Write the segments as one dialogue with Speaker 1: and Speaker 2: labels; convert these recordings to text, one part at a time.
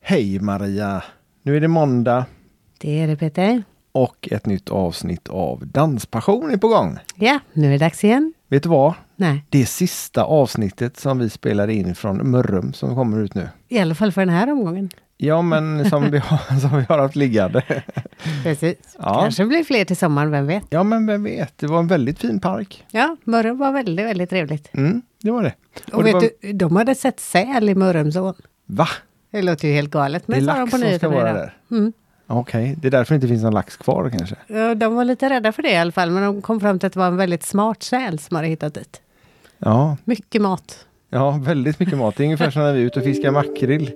Speaker 1: Hej Maria! Nu är det måndag
Speaker 2: Det är det Peter.
Speaker 1: och ett nytt avsnitt av Danspassion är på gång.
Speaker 2: Ja, nu är det dags igen.
Speaker 1: Vet du vad?
Speaker 2: Nej,
Speaker 1: Det sista avsnittet som vi spelar in från Mörrum som kommer ut nu.
Speaker 2: i alla fall för den här omgången.
Speaker 1: Ja, men som vi har, som vi har haft liggande.
Speaker 2: Precis.
Speaker 1: Ja.
Speaker 2: Kanske blir fler till sommaren, vem vet?
Speaker 1: Ja, men vem vet? Det var en väldigt fin park.
Speaker 2: Ja, Mörrum var väldigt, väldigt trevligt.
Speaker 1: Mm, det var det.
Speaker 2: Och,
Speaker 1: det
Speaker 2: vet
Speaker 1: var,
Speaker 2: du, de hade sett säl i Mörrumsån.
Speaker 1: Va?
Speaker 2: Det låter ju helt galet,
Speaker 1: Det är
Speaker 2: men sa de
Speaker 1: lax
Speaker 2: på
Speaker 1: som ska
Speaker 2: nyheterna
Speaker 1: vara
Speaker 2: idag. Mm.
Speaker 1: där. Okej, det är därför det inte finns någon lax kvar kanske.
Speaker 2: Ja, de var lite rädda för det i alla fall, men de kom fram till att det var en väldigt smart säl som hade hittat dit.
Speaker 1: Ja,
Speaker 2: Mycket mat.
Speaker 1: Ja, väldigt mycket mat. Det är ungefär som när vi är ute och fiskar makrill.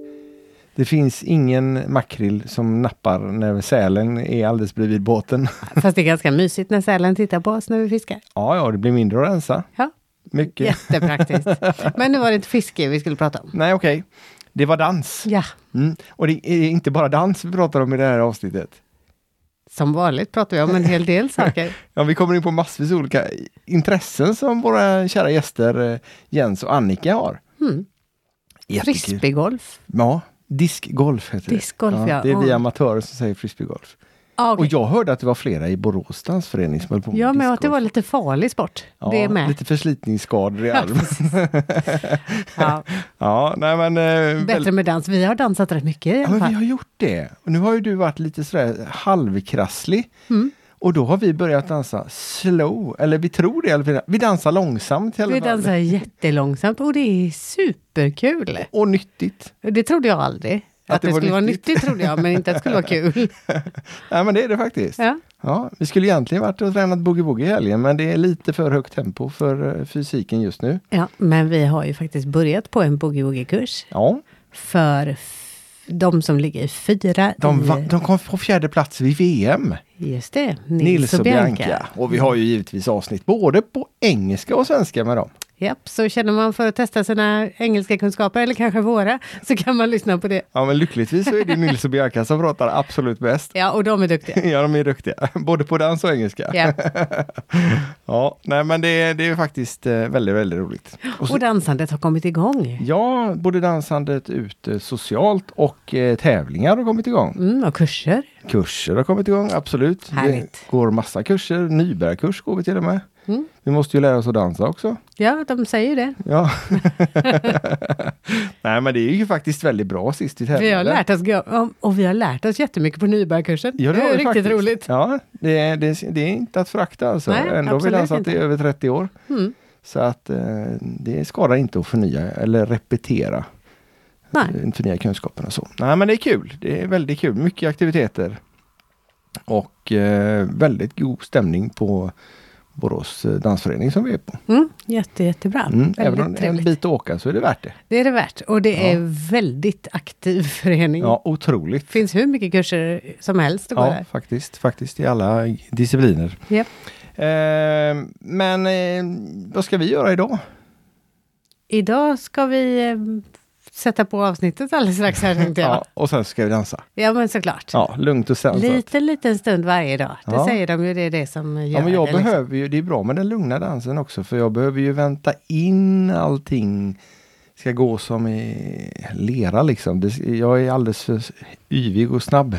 Speaker 1: Det finns ingen makrill som nappar när sälen är alldeles bredvid båten.
Speaker 2: Fast det är ganska mysigt när sälen tittar på oss när vi fiskar.
Speaker 1: Ja, ja, det blir mindre att rensa.
Speaker 2: Ja,
Speaker 1: Mycket.
Speaker 2: jättepraktiskt. men nu var det inte fiske vi skulle prata om.
Speaker 1: Nej, okej. Det var dans.
Speaker 2: Ja,
Speaker 1: Mm. Och det är inte bara dans vi pratar om i det här avsnittet.
Speaker 2: som vanligt pratar vi om en hel del saker.
Speaker 1: Ja, vi kommer in på massvis olika intressen som våra kära gäster eh, Jens och Annika har.
Speaker 2: Mm.
Speaker 1: Jättekul.
Speaker 2: Frisbeegolf.
Speaker 1: Ja, diskgolf heter
Speaker 2: Diskgolf,
Speaker 1: det.
Speaker 2: ja.
Speaker 1: Det är vi
Speaker 2: Ja.
Speaker 1: amatörer som säger frisbeegolf.
Speaker 2: Ah, okej.
Speaker 1: Och jag hörde att det var flera i Borås dansförening som höll på med
Speaker 2: Ja, men
Speaker 1: discgolf.
Speaker 2: att det var lite farlig sport.
Speaker 1: Ja,
Speaker 2: det är med.
Speaker 1: Lite förslitningsskador i
Speaker 2: Ja,
Speaker 1: armen.
Speaker 2: precis. ja,
Speaker 1: ja, nej men... Eh, väl-
Speaker 2: bättre med dans. Vi har dansat rätt mycket i
Speaker 1: ja,
Speaker 2: alla
Speaker 1: men vi
Speaker 2: fall.
Speaker 1: har gjort det. Och nu har ju du varit lite sådär halvkrasslig. Och då har vi börjat dansa slow, eller vi tror det. Eller vi- vi dansar långsamt i alla
Speaker 2: Vi
Speaker 1: fall.
Speaker 2: dansar jättelångsamt och det är superkul.
Speaker 1: Och nyttigt.
Speaker 2: Det trodde jag aldrig. Att, det, skulle vara nyttigt trodde jag, men inte att det skulle vara kul.
Speaker 1: Nej men det är det faktiskt.
Speaker 2: Ja.
Speaker 1: Ja, vi skulle egentligen varit och tränat boogie-woogie i helgen, men det är lite för högt tempo för eh, fysiken just nu.
Speaker 2: Ja, men vi har ju faktiskt börjat på en boogie-woogie-kurs
Speaker 1: Ja,
Speaker 2: för f- de som ligger i fyra
Speaker 1: de,
Speaker 2: i...
Speaker 1: va- de kom på fjärde plats vid VM.
Speaker 2: Just det, Nils,
Speaker 1: Nils och Bianca. Och vi har ju givetvis avsnitt både på engelska och svenska med dem.
Speaker 2: Japp, så känner man för att testa sina engelska kunskaper, eller kanske våra, så kan man lyssna på det.
Speaker 1: Ja men lyckligtvis så är det Nils och Bianca som pratar absolut bäst.
Speaker 2: Ja, och de är duktiga.
Speaker 1: Ja de är duktiga, både på dans och engelska.
Speaker 2: Ja.
Speaker 1: Ja, nej men det, är- det är faktiskt eh, väldigt, väldigt roligt. Och så,
Speaker 2: Och dansandet har kommit igång.
Speaker 1: ja, både dansandet ute socialt och eh, tävlingar har kommit igång.
Speaker 2: Mm, och kurser.
Speaker 1: Kurser har kommit igång, absolut.
Speaker 2: Härligt.
Speaker 1: Det går massa kurser, nybörjarkurs går vi till och med.
Speaker 2: Mm.
Speaker 1: Vi måste ju lära oss att dansa också.
Speaker 2: Ja, de säger ju det.
Speaker 1: Ja. Nej men det är ju faktiskt väldigt bra sist vi tävlade.
Speaker 2: Vi har lärt oss, gå- om- och vi har lärt oss jättemycket på nybörjarkursen.
Speaker 1: Ja, det,
Speaker 2: det
Speaker 1: har
Speaker 2: är
Speaker 1: vi
Speaker 2: riktigt
Speaker 1: faktiskt.
Speaker 2: roligt.
Speaker 1: Ja, det, är- det, är- det är inte att förakta alltså.
Speaker 2: Nej,
Speaker 1: Ändå har vi
Speaker 2: absolut
Speaker 1: dansat
Speaker 2: inte.
Speaker 1: i över 30 år.
Speaker 2: Mm.
Speaker 1: Så att eh, det skadar inte att förnya eller repetera,
Speaker 2: Nej.
Speaker 1: eh, förnya kunskaperna och så. Nej men det är kul, det är väldigt kul. Mycket aktiviteter. Och eh, väldigt god stämning på Borås eh, dansförening som vi är på.
Speaker 2: Mm, jätte, jättebra.
Speaker 1: Mm, även om
Speaker 2: väldigt
Speaker 1: det är en
Speaker 2: trevligt.
Speaker 1: bit att åka så är det värt det.
Speaker 2: Det är det värt. Och det
Speaker 1: Ja.
Speaker 2: är väldigt aktiv förening.
Speaker 1: Ja, otroligt.
Speaker 2: Det finns hur mycket kurser som helst att gå
Speaker 1: Ja,
Speaker 2: där.
Speaker 1: faktiskt, faktiskt i alla discipliner.
Speaker 2: Japp.
Speaker 1: Eh, men eh, vad ska vi göra idag?
Speaker 2: Idag ska vi eh, sätta på avsnittet alldeles strax här tänkte jag.
Speaker 1: Ja,
Speaker 2: ja. Typ.
Speaker 1: och sen ska vi dansa.
Speaker 2: men såklart.
Speaker 1: Ja, lugnt och sansat.
Speaker 2: Liten, liten stund varje dag. Det
Speaker 1: Ja.
Speaker 2: säger de ju, det är det som gör
Speaker 1: Ja, men
Speaker 2: det.
Speaker 1: jag
Speaker 2: liksom.
Speaker 1: behöver ju, det är bra med den lugna dansen också, för jag behöver ju vänta in allting. Ska gå som i lera liksom. Det, jag är alldeles för yvig och snabb.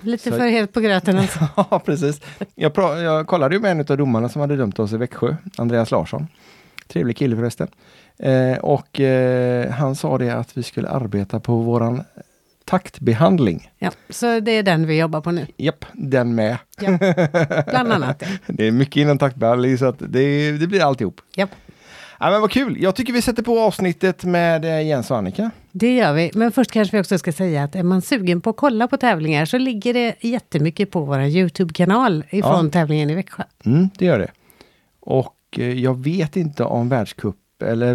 Speaker 2: Lite
Speaker 1: Så-
Speaker 2: för helt på gröten alltså.
Speaker 1: Ja, precis. Jag, pra- jag kollade ju med en av domarna som hade dömt oss i Växjö, Andreas Larsson. Trevlig kille förresten. Eh, och eh, han sa det att vi skulle arbeta på våran taktbehandling.
Speaker 2: Ja, så det är den vi jobbar på nu.
Speaker 1: Japp, den med.
Speaker 2: Ja. Bland annat det.
Speaker 1: Det är mycket inom taktbehandling så att det, det blir alltihop.
Speaker 2: Ja,
Speaker 1: Ja, men vad kul! Jag tycker vi sätter på avsnittet med eh, Jens och Annika.
Speaker 2: det gör vi. Men först kanske vi också ska säga att är man sugen på att kolla på tävlingar så ligger det jättemycket på vår YouTube-kanal ifrån
Speaker 1: Ja.
Speaker 2: tävlingen i Växjö.
Speaker 1: Mm, det gör det. Och eh, jag vet inte om världscup eller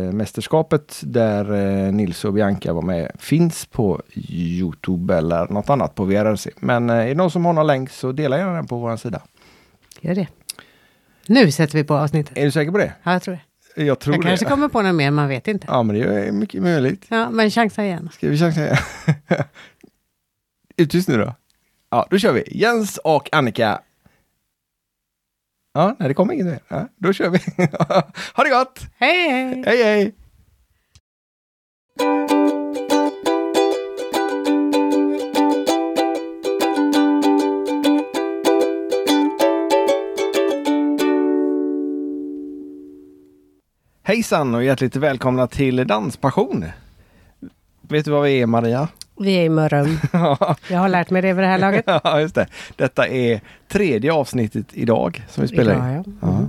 Speaker 1: världsmästerskapet där eh, Nils och Bianca var med finns på Youtube eller något annat på VRC. Men eh, är det någon som har någon länk så dela gärna den på vår sida.
Speaker 2: Gör det. Nu sätter vi på avsnittet.
Speaker 1: Är du säker på det?
Speaker 2: Ja, jag tror det.
Speaker 1: Jag tror
Speaker 2: Jag kanske
Speaker 1: det.
Speaker 2: kommer på något mer, man vet inte.
Speaker 1: Ja men det är mycket möjligt.
Speaker 2: Ja, men chansa igen.
Speaker 1: Ska vi chansa? Ut tyst nu då. Ja, då kör vi. Jens och Annika. Ja, nej det kommer inget mer. Ja, då kör vi. ha det gott!
Speaker 2: Hej, hej!
Speaker 1: Hej hej! Hejsan och hjärtligt välkomna till Danspassion! Vet du vad vi är Maria?
Speaker 2: Vi är i Mörrum. Jag har lärt mig det vid det här laget.
Speaker 1: ja, just det. Detta är tredje avsnittet idag som vi spelar in.
Speaker 2: Idag, ja.
Speaker 1: Ja.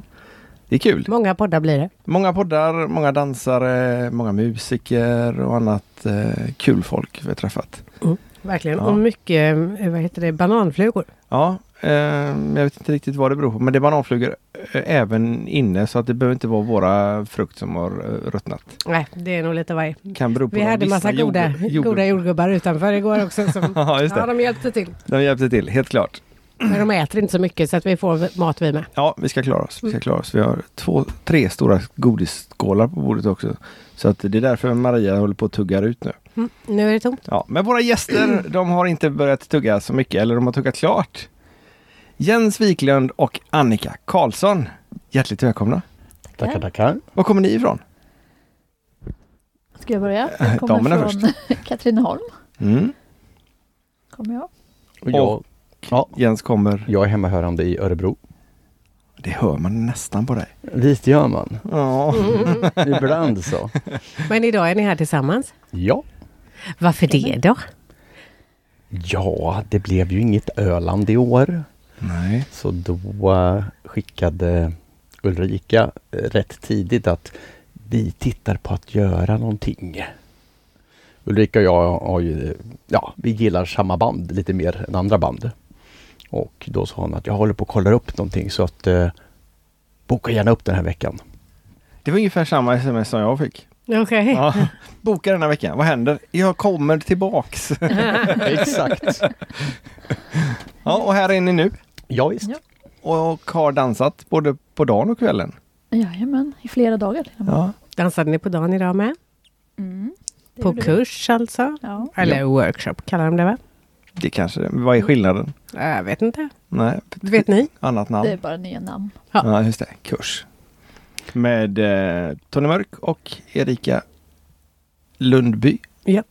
Speaker 1: Det är kul.
Speaker 2: Många poddar blir det.
Speaker 1: Många poddar, många dansare, många musiker och annat eh, kul folk vi har träffat.
Speaker 2: Verkligen.
Speaker 1: Ja.
Speaker 2: Och mycket, eh, vad heter det, bananflugor.
Speaker 1: Ja, eh, jag vet inte riktigt vad det beror på, men det är bananflugor eh, även inne så att det behöver inte vara våra frukt som har eh, ruttnat.
Speaker 2: Nej, det är nog lite varje.
Speaker 1: Kan bero på
Speaker 2: Vi
Speaker 1: de
Speaker 2: hade
Speaker 1: vissa
Speaker 2: massa goda,
Speaker 1: jord- jord-
Speaker 2: goda jordgubbar utanför igår också. Som,
Speaker 1: Ja, just
Speaker 2: ja,
Speaker 1: det.
Speaker 2: de hjälpte till.
Speaker 1: De hjälpte till, helt klart.
Speaker 2: Men de äter inte så mycket så att vi får mat vi med.
Speaker 1: Ja, vi ska klara oss. Vi ska klara oss. Vi har två, tre stora godisskålar på bordet också. Så att det är därför Maria håller på att tuggar ut nu.
Speaker 2: Mm. Nu är det tomt.
Speaker 1: Ja, men våra gäster, de har inte börjat tugga så mycket, eller de har tuggat klart. Jens Wiklund och Annika Karlsson, hjärtligt välkomna.
Speaker 3: Tackar, tackar.
Speaker 1: Var kommer ni ifrån?
Speaker 3: Ska jag börja?
Speaker 1: Jag kommer Damerna
Speaker 3: från Katrineholm.
Speaker 1: Mm.
Speaker 3: Kommer jag.
Speaker 4: Och jag, ja,
Speaker 1: Jens kommer,
Speaker 4: jag är hemmahörande i Örebro.
Speaker 1: det hör man nästan på dig.
Speaker 4: Visst gör man?
Speaker 1: Ja,
Speaker 4: Ibland så.
Speaker 2: Men idag är ni här tillsammans.
Speaker 4: Ja.
Speaker 2: Varför det då?
Speaker 4: Ja, det blev ju inget Öland i år.
Speaker 1: nej.
Speaker 4: Så då eh, skickade Ulrika eh, rätt tidigt att vi tittar på att göra någonting. Ulrika och jag har ju, ja, vi gillar samma band lite mer än andra band. Och då sa hon att jag håller på att kolla upp någonting så att eh, boka gärna upp den här veckan.
Speaker 1: Det var ungefär samma sms som jag fick.
Speaker 2: Okej.
Speaker 1: Ja. Boka den här veckan, vad händer? Jag kommer tillbaks.
Speaker 4: Exakt.
Speaker 1: Ja, och här är ni nu
Speaker 4: Ja, visst.
Speaker 3: Ja.
Speaker 1: och har dansat både på dagen och kvällen.
Speaker 3: Jajamän, i flera dagar. till och med.
Speaker 1: Ja.
Speaker 2: Dansade ni på dagen idag med?
Speaker 3: Mm, det
Speaker 2: På
Speaker 3: gjorde vi.
Speaker 2: kurs alltså?
Speaker 3: Ja.
Speaker 2: Eller workshop kallar de det va?
Speaker 1: Det kanske, vad är skillnaden?
Speaker 2: Jag vet inte.
Speaker 1: Nej,
Speaker 2: Vet ni?
Speaker 1: annat namn.
Speaker 3: Det är bara nya namn.
Speaker 2: Ja.
Speaker 1: Ja, just det. Kurs. Med eh, Tony Mörk och Erika Lundby.
Speaker 2: Ja.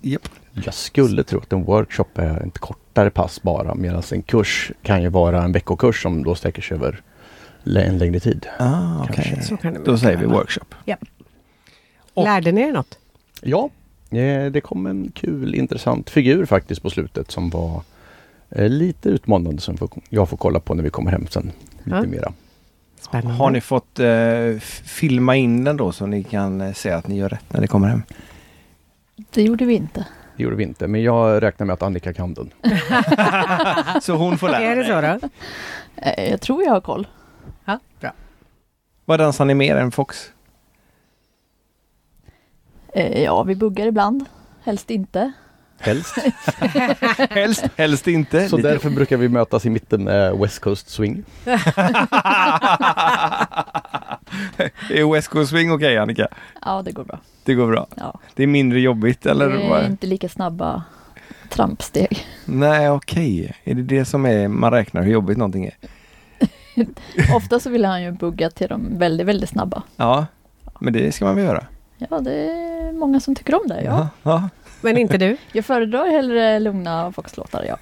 Speaker 1: Japp.
Speaker 4: Jag skulle tro att en workshop är ett kortare pass bara medan en kurs kan ju vara en veckokurs som då sträcker sig över lä- en längre tid.
Speaker 1: Ah,
Speaker 4: Kanske.
Speaker 1: okej.
Speaker 2: Så kan det
Speaker 1: Då
Speaker 2: mycket
Speaker 1: säger vi
Speaker 2: väl vara.
Speaker 1: workshop. Och-
Speaker 2: Lärde ni er något?
Speaker 4: Ja, eh, det kom en kul intressant figur faktiskt på slutet som var eh, lite utmanande som får- jag får kolla på när vi kommer hem sen. Lite
Speaker 2: Ja.
Speaker 4: mera.
Speaker 2: Spännande.
Speaker 1: Har ni fått eh, f- filma in den då så ni kan eh, se att ni gör rätt när ni kommer hem?
Speaker 3: Det gjorde vi inte.
Speaker 4: Det gjorde vi inte, men jag räknar med att Annika kan den.
Speaker 1: Så hon får lära
Speaker 2: Är det
Speaker 1: dig.
Speaker 2: så då?
Speaker 3: Eh, Jag tror jag har koll.
Speaker 2: Ja, bra.
Speaker 1: Vad dansar ni mer än Fox?
Speaker 3: Eh, Ja, vi buggar ibland. Helst inte.
Speaker 4: Helst.
Speaker 1: Helst, helst inte.
Speaker 4: Så
Speaker 1: Lite-
Speaker 4: därför brukar vi mötas i mitten eh, West Coast Swing.
Speaker 1: är West Coast Swing okej Annika?
Speaker 3: Ja, det går bra.
Speaker 1: Det går bra.
Speaker 3: Ja. Eh,
Speaker 1: Det är mindre jobbigt eller?
Speaker 3: det är
Speaker 1: vad?
Speaker 3: inte lika snabba trampsteg.
Speaker 1: Nej okej, är det det som är, man räknar hur jobbigt någonting är?
Speaker 3: Ofta så vill han ju bugga till de väldigt, väldigt snabba.
Speaker 1: Ja, men det ska man väl göra?
Speaker 3: Ja, det är många som tycker om det. Ja.
Speaker 1: ja.
Speaker 2: Men inte du?
Speaker 3: Jag föredrar hellre lugna foxlåtar, ja.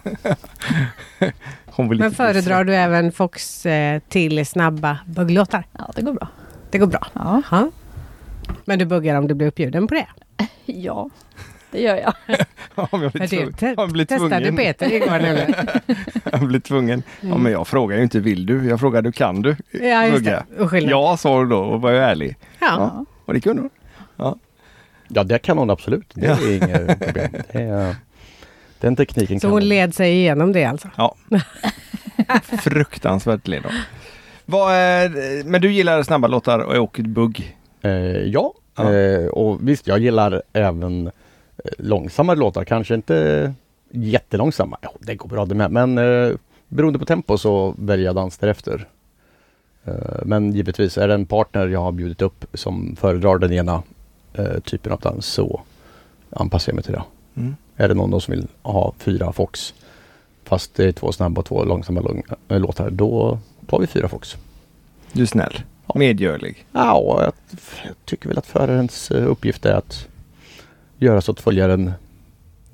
Speaker 1: Hon vill
Speaker 2: Men
Speaker 1: inte
Speaker 2: föredrar du även Fox eh, till snabba bugglåtar?
Speaker 3: Ja, det går bra.
Speaker 2: Det går bra.
Speaker 3: Ja,
Speaker 2: Ja. Men du buggar om du blir uppbjuden på det?
Speaker 3: ja det gör jag.
Speaker 1: bli- Om jag blir
Speaker 2: Men du,
Speaker 1: tvungen.
Speaker 2: te-
Speaker 1: Han blir
Speaker 2: testade
Speaker 1: tvungen.
Speaker 2: Peter igår nämligen.
Speaker 1: Jag blir tvungen. Ja,
Speaker 2: Mm.
Speaker 1: men jag frågar ju inte vill du, jag frågar du kan du?
Speaker 2: Ja, just det.
Speaker 1: Mugga.
Speaker 2: Och skillnad.
Speaker 1: Ja, sa hon då och var ju ärlig.
Speaker 2: Ja.
Speaker 3: Ja.
Speaker 1: Och det kunde hon.
Speaker 4: Ja, det kan hon absolut. Det är inget problem. Det är, den tekniken
Speaker 2: Så
Speaker 4: kan
Speaker 2: hon led sig igenom det alltså?
Speaker 1: Ja. Fruktansvärt Lena. Vad är, men du gillar snabba låtar och åker bugg?
Speaker 4: Eh, ja,
Speaker 1: Ja.
Speaker 4: Eh, och visst jag gillar även eh, långsammare låtar. Kanske inte jättelångsamma. Jo, det går bra det med. Men eh, beroende på tempo så väljer jag dans därefter. Eh, men givetvis är det en partner jag har bjudit upp som föredrar den ena eh, typen av dans så anpassar jag mig till det.
Speaker 1: Mm.
Speaker 4: Är det någon då som vill ha fyra Fox fast det är två snabba och två långsamma lång, eh, låtar då tar vi fyra Fox.
Speaker 1: Du är snäll, medgörlig.
Speaker 4: Ja, och jag jag tycker väl att förarens eh, uppgift är att göra så att följaren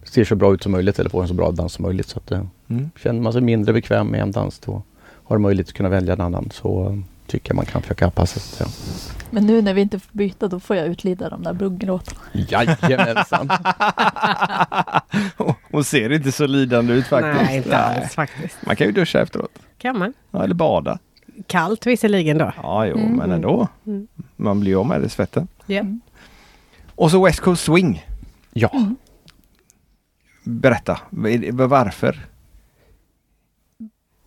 Speaker 4: ser så bra ut som möjligt eller får en så bra dans som möjligt. Så att, eh,
Speaker 1: Mm.
Speaker 4: känner man sig mindre bekväm med en dans då har man möjlighet att kunna välja en annan. Så eh, tycker jag man kan försöka anpassa sig till.
Speaker 3: Men nu när vi inte får byta, då får jag utlida de där bugglåtarna.
Speaker 4: Jajamensan!
Speaker 1: Hon ser inte så lidande ut faktiskt.
Speaker 2: Nej, inte alls faktiskt.
Speaker 1: Man kan ju duscha efteråt.
Speaker 2: Kan man.
Speaker 1: Ja, eller bada.
Speaker 2: Kallt visserligen då.
Speaker 1: Ja, jo,
Speaker 3: Mm.
Speaker 1: men ändå.
Speaker 2: Mm.
Speaker 1: Man blir ju av med det svetten.
Speaker 2: Ja.
Speaker 1: Och så West Coast Swing.
Speaker 4: Ja,
Speaker 1: Berätta, Är det- varför?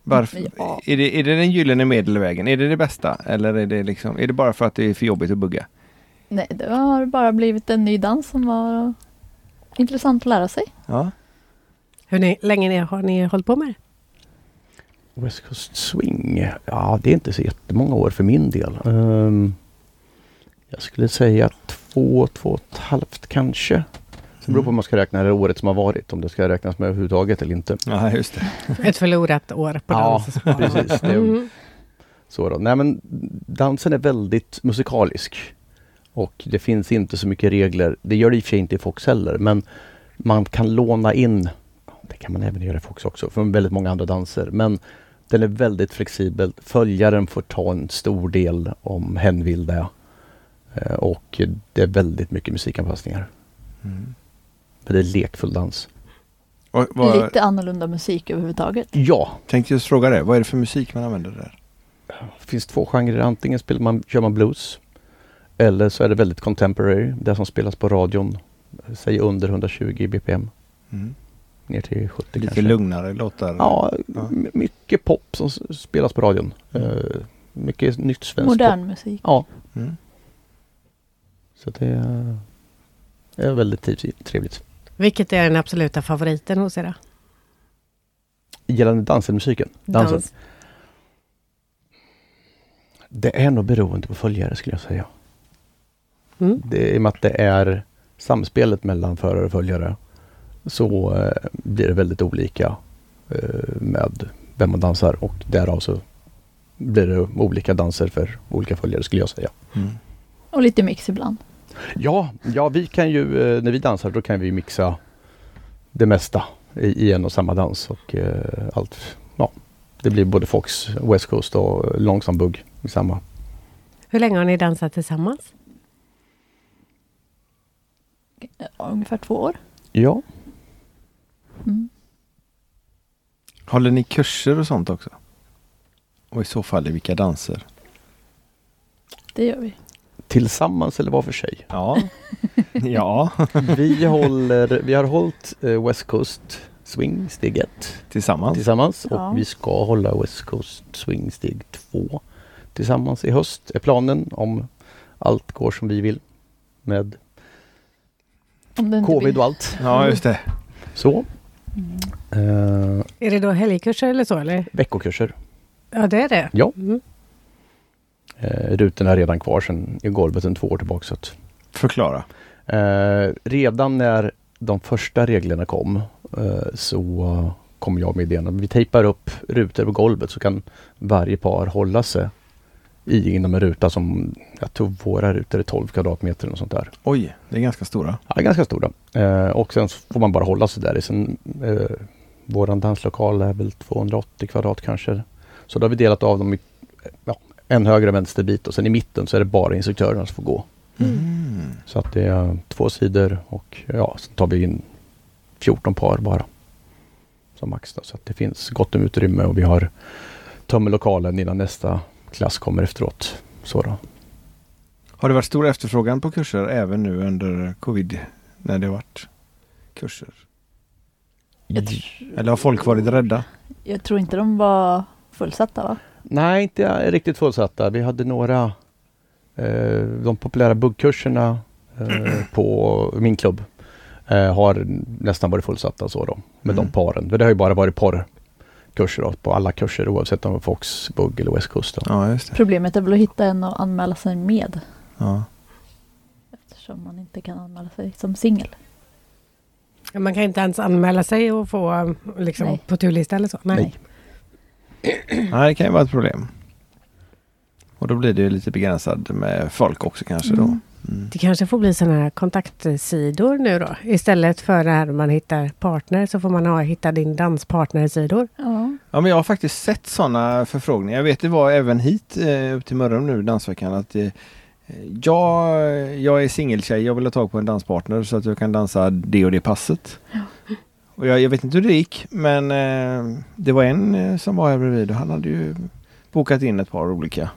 Speaker 1: Varför?
Speaker 3: Ja.
Speaker 1: Är, det, är det den gyllene medelvägen? Är det det bästa? Eller är det, liksom, är det bara för att det är för jobbigt att bugga?
Speaker 3: Nej, det har bara blivit en ny dans som var intressant att lära sig.
Speaker 1: Ja.
Speaker 2: Hur ni, länge ni, har ni hållit på med det?
Speaker 4: West Coast Swing. Ja, det är inte så jättemånga år för min del. Ehm, jag skulle säga två, två och ett halvt kanske. Det beror på om man ska räkna det året som har varit, om det ska räknas med överhuvudtaget eller inte.
Speaker 1: Ja, just det.
Speaker 2: Ett förlorat år på
Speaker 4: Ja,
Speaker 2: dans och spa.
Speaker 4: precis. Det-
Speaker 2: Mm.
Speaker 4: Så då. Nej men dansen är väldigt musikalisk. Och det finns inte så mycket regler. Det gör det i och för sig inte i Fox heller men man kan låna in, det kan man även göra i Fox också, från väldigt många andra danser. Men den är väldigt flexibel. Följaren får ta en stor del om hen vill det. Eh, Och det är väldigt mycket musikanpassningar.
Speaker 1: Mm.
Speaker 4: För det är lekfull dans.
Speaker 1: Och, vad,
Speaker 3: Lite annorlunda musik överhuvudtaget.
Speaker 4: Ja,
Speaker 1: tänkte just fråga det, vad är det för musik man använder där?
Speaker 4: Det finns två genrer. Antingen spelar man, kör man blues eller så är det väldigt contemporary, det som spelas på radion. eh, Säg under 120 bpm,
Speaker 1: Mm.
Speaker 4: ner till 70
Speaker 1: Lite
Speaker 4: kanske.
Speaker 1: lugnare låtar?
Speaker 4: Ja,
Speaker 1: Ja.
Speaker 4: m- mycket pop som s- spelas på radion. Eh, mycket nytt svenskt pop.
Speaker 3: Modern musik.
Speaker 4: Ja,
Speaker 1: Mm.
Speaker 4: så det är- är väldigt triv- trevligt.
Speaker 2: Vilket är den absoluta favoriten hos er? då?
Speaker 4: Gällande dansen, musiken, dansen.
Speaker 2: Dans.
Speaker 4: Det är nog beroende på följare skulle jag säga.
Speaker 2: Mm.
Speaker 4: Det, I och med att det är samspelet mellan förare och följare så eh, blir det väldigt olika eh, med vem man dansar och därav så blir det olika danser för olika följare skulle jag säga.
Speaker 1: Mm.
Speaker 3: Och lite mix ibland.
Speaker 4: Ja, ja vi kan ju, eh, när vi dansar då kan vi mixa det mesta i, i en och samma dans och eh, allt. Ja, det blir både Fox, West Coast och långsam bugg i samma.
Speaker 2: Hur länge har ni dansat tillsammans?
Speaker 3: Ja, ungefär två år.
Speaker 4: Ja,
Speaker 3: Mm.
Speaker 1: Håller ni kurser och sånt också? Och i så fall i vilka danser?
Speaker 3: Det gör vi.
Speaker 4: tillsammans eller var för sig?
Speaker 1: Ja. ja,
Speaker 4: Vi, håller, vi har hållit eh, West Coast Swing steg 1
Speaker 1: tillsammans.
Speaker 4: tillsammans och
Speaker 3: Ja.
Speaker 4: vi ska hålla West Coast Swing steg 2 tillsammans i höst är planen om allt går som vi vill med
Speaker 3: Om det inte
Speaker 4: covid
Speaker 3: blir...
Speaker 4: och allt.
Speaker 1: Ja, just det.
Speaker 4: Så.
Speaker 3: Mm.
Speaker 4: Eh,
Speaker 2: Är det då helgkurser eller så? Eller?
Speaker 4: veckokurser.
Speaker 2: Ja, det är det.
Speaker 4: Ja.
Speaker 2: Mm.
Speaker 4: Eh, rutorna är redan kvar sedan i golvet sedan två år tillbaka. Så att
Speaker 1: Förklara.
Speaker 4: Eh, redan när de första reglerna kom eh, så kom jag med idén att vi tejpar upp rutor på golvet så kan varje par hålla sig i, inom en ruta som, jag tror våra rutor är 12 kvadratmeter eller något sånt där.
Speaker 1: Oj, det är ganska stora.
Speaker 4: Ja, ganska stora. Eh, och sen så får man bara hålla sig där. i. Sen, eh, våran danslokal är väl 280 kvadrat kanske. Så då har vi delat av dem i ja, en höger och vänster bit och sen i mitten så är det bara instruktörerna som får gå.
Speaker 1: Mm.
Speaker 4: Så att det är två sidor och ja, så tar vi in 14 par bara. Som max då, så att det finns gott om utrymme och vi har tömmer lokalen innan nästa klass kommer efteråt. Så då.
Speaker 1: Har det varit stor efterfrågan på kurser även nu under covid? När det har varit kurser?
Speaker 3: Jag, tr-
Speaker 1: Eller har folk varit rädda?
Speaker 3: jag tror inte de var fullsatta va?
Speaker 4: Nej, inte riktigt fullsatta. Vi hade några eh, de populära buggkurserna eh, på min klubb eh, har nästan varit fullsatta så då med
Speaker 1: Mm.
Speaker 4: de paren. För det har ju bara varit porrkurser då, på alla kurser oavsett om det var Fox, Bugg eller West Coast. Då.
Speaker 1: Ja, just det.
Speaker 3: Problemet är väl att hitta en att anmäla sig med.
Speaker 1: Ja.
Speaker 3: Eftersom man inte kan anmäla sig som singel.
Speaker 2: Man kan inte ens anmäla sig och få liksom,
Speaker 3: Nej.
Speaker 2: på turlista eller så? Nej.
Speaker 4: Nej.
Speaker 1: Nej, det kan ju vara ett problem. Och då blir det ju lite begränsad med folk också kanske då.
Speaker 3: Mm.
Speaker 1: Mm.
Speaker 2: Det kanske får bli sådana här kontaktsidor nu då? Istället för det här man hittar partner så får man ha hitta din danspartnersidor.
Speaker 3: Ja.
Speaker 1: Ja, men jag har faktiskt sett sådana förfrågningar. Jag vet det var även hit eh, upp till Mörrum nu Dansveckan att eh, jag, jag är singeltjej, jag vill ha tag på en danspartner så att jag kan dansa det och det passet. Och jag, jag vet inte hur det gick men eh, det var en eh, som var här bredvid och han hade ju bokat in ett par olika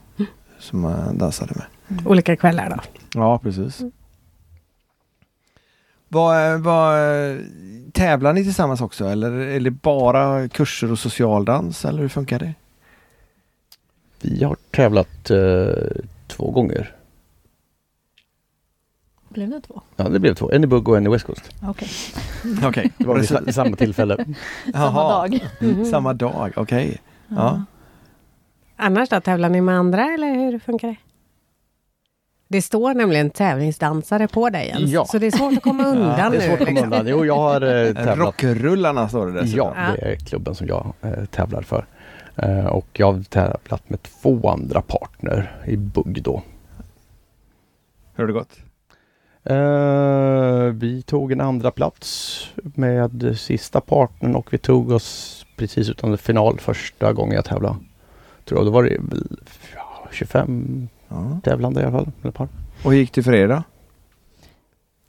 Speaker 1: som han dansade med.
Speaker 2: Olika kvällar då.
Speaker 1: Ja, precis. Vad, vad, eh, tävlar ni tillsammans också eller är det bara kurser och socialdans eller hur funkar det?
Speaker 4: Vi har tävlat eh, två gånger.
Speaker 3: Blev det två?
Speaker 4: Ja, det blev två. En i Bugg och en i West Coast.
Speaker 3: Okej,
Speaker 1: Okej,
Speaker 4: Det var vid sa- vid samma tillfälle.
Speaker 3: samma dag.
Speaker 2: Mm-hmm.
Speaker 1: Samma dag, okej. Ja.
Speaker 2: Annars då, tävlar ni med andra eller hur funkar det? Det står nämligen tävlingsdansare på dig Jens,
Speaker 4: Ja.
Speaker 2: så det är svårt att komma undan
Speaker 4: Det är svårt
Speaker 2: nu.
Speaker 4: att komma
Speaker 2: Liksom.
Speaker 4: undan. Jo, jag har eh, tävlat
Speaker 1: Rockrullarna står det dessutom.
Speaker 4: Ja, det är klubben som jag eh, tävlar för. Eh, och jag har tävlat med två andra partner i bugg då.
Speaker 1: Hur har det gått?
Speaker 4: Eh, vi tog en andra plats med sista partnern och vi tog oss precis utanför final första gången jag tävlade. Tror jag. Då var det väl, ja, 25
Speaker 1: Ja.
Speaker 4: tävlande i alla fall. Eller par.
Speaker 1: Och hur gick det för er då?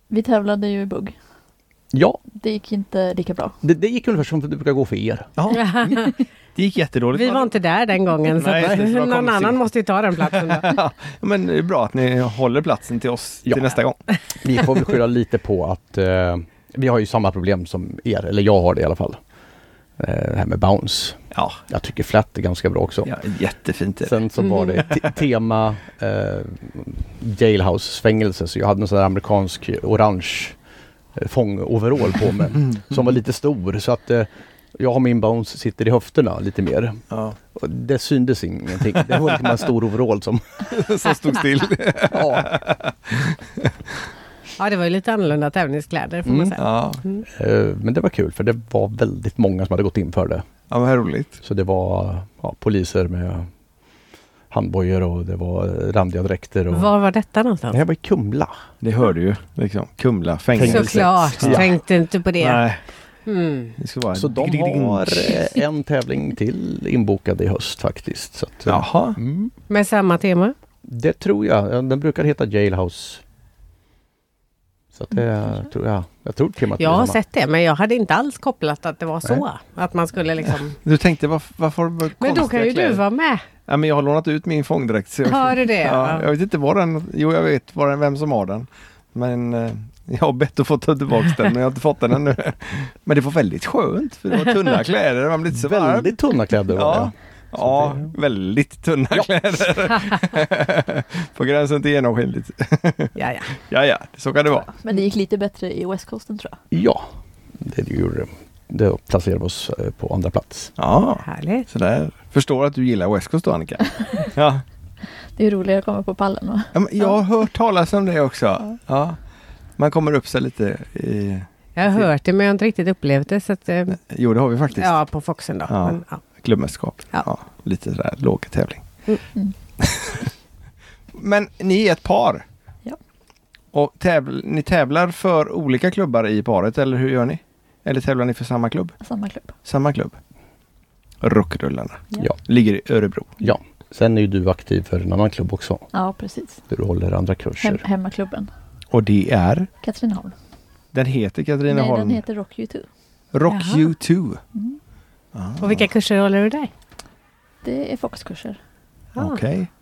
Speaker 3: Vi tävlade ju i bugg.
Speaker 4: Ja,
Speaker 3: Det gick inte lika bra.
Speaker 4: det, det gick ungefär som det brukar gå för er.
Speaker 1: Det gick jättedåligt.
Speaker 2: Vi var inte där den gången, så
Speaker 1: Nej,
Speaker 2: att
Speaker 1: det var
Speaker 2: någon
Speaker 1: konstigt.
Speaker 2: annan måste ju ta den platsen. Då.
Speaker 1: Ja, men det är bra att ni håller platsen till oss
Speaker 4: Ja.
Speaker 1: till nästa gång.
Speaker 4: Vi får väl skylla lite på att eh, vi har ju samma problem som er, eller jag har det i alla fall. Eh, det här med bounce.
Speaker 1: Ja,
Speaker 4: Jag tycker flat är ganska bra också.
Speaker 1: ja jättefint. är det. Mm.
Speaker 4: Sen så var det te- tema eh, jailhouse-fängelse så jag hade en sån där amerikansk orange eh, fångoverall på mig
Speaker 1: Mm.
Speaker 4: som var lite stor så att eh, jag har min bounce sitter i höfterna lite mer.
Speaker 1: Ja.
Speaker 4: Och det syndes ingenting. Det var liksom en stor overall som...
Speaker 1: Som stod still.
Speaker 4: Ja,
Speaker 2: Ja, det var ju lite annorlunda tävlingskläder får man
Speaker 4: Mm.
Speaker 2: säga.
Speaker 1: Ja.
Speaker 4: eh, men det var kul för det var väldigt många som hade gått in för det.
Speaker 1: ja, men vad roligt.
Speaker 4: Så det var ja, poliser med handbojor och det var randiga dräkter. Och...
Speaker 2: Var var detta någonstans?
Speaker 4: Det här var i Kumla.
Speaker 1: Det hör du ju. Liksom. Kumla, fängelse.
Speaker 2: Såklart,
Speaker 1: Ja.
Speaker 2: tänkte inte på det.
Speaker 1: Nej,
Speaker 2: Mm.
Speaker 1: det ska vara
Speaker 4: Så de har eh, en tävling till inbokad i höst faktiskt. Så att, eh,
Speaker 1: Jaha.
Speaker 4: mm,
Speaker 2: Med samma tema?
Speaker 4: det tror jag. Ja, Den brukar heta Jailhouse. Så att det tror jag. Jag tror temat är
Speaker 2: Mm, Jag har
Speaker 4: samma.
Speaker 2: sett det, men jag hade inte alls kopplat att det var så. Att man skulle liksom...
Speaker 1: Du tänkte varför, varför har du
Speaker 2: Men då
Speaker 1: konstiga
Speaker 2: kan ju du
Speaker 1: kläder?
Speaker 2: vara med.
Speaker 1: Ja, men jag har lånat ut min fångdräkt. Så jag,
Speaker 2: Har du det?
Speaker 1: Ja, jag vet inte var den... Jo, jag vet var den, vem som har den. Men eh, jag har bett att få ta tillbaka den, men jag har inte fått den ännu. Men det var väldigt skönt, för det var tunna kläder. Man blir inte så varm.
Speaker 4: Väldigt tunna kläder var
Speaker 1: Ja.
Speaker 4: det.
Speaker 1: Ja, väldigt tunna kläder. På gränsen till genomskinligt.
Speaker 2: Ja, ja.
Speaker 1: Ja, ja, så kan det vara.
Speaker 3: Men det gick lite bättre i West Coasten tror jag.
Speaker 4: Ja, det gjorde det. Det placerade oss eh, på andra plats.
Speaker 1: Ja,
Speaker 2: Härligt.
Speaker 1: sådär. Förstår att du gillar West Coast då, Annika. Ja.
Speaker 3: Det är roligare att komma på pallen va?
Speaker 1: Ja, men Jag har hört talas om det också. Ja. Man kommer upp sig lite i...
Speaker 2: Jag har hört det, men jag har inte riktigt upplevt det. Så att, eh,
Speaker 1: Jo, det har vi faktiskt.
Speaker 2: ja, på Foxen då.
Speaker 1: Ja.
Speaker 2: Men, ja.
Speaker 1: klubbmästerskap. Ja.
Speaker 2: Ja.
Speaker 1: lite sådär låg tävling.
Speaker 2: Mm.
Speaker 3: Mm.
Speaker 1: Men ni är ett par.
Speaker 3: Ja.
Speaker 1: Och tävl- ni tävlar för olika klubbar i paret eller hur gör ni? Eller tävlar ni för samma klubb?
Speaker 3: Samma klubb.
Speaker 1: Samma klubb? Rockrullarna.
Speaker 3: Ja.
Speaker 4: Ja.
Speaker 1: Ligger i Örebro.
Speaker 4: Ja, sen är ju du aktiv för en annan klubb också.
Speaker 3: Ja precis.
Speaker 4: Där du håller andra
Speaker 3: Hem,
Speaker 4: kurser.
Speaker 3: hemmaklubben.
Speaker 1: Och det är?
Speaker 3: Katrineholm.
Speaker 1: Den heter
Speaker 3: Nej
Speaker 1: Katrineholm.
Speaker 3: den heter Mm. Rock You Too.
Speaker 1: Rock
Speaker 2: Jaha.
Speaker 1: You Ah. 2.
Speaker 2: Och vilka kurser håller du där?
Speaker 3: Det är Foxkurser.
Speaker 2: Ja.
Speaker 1: Okej. Ah.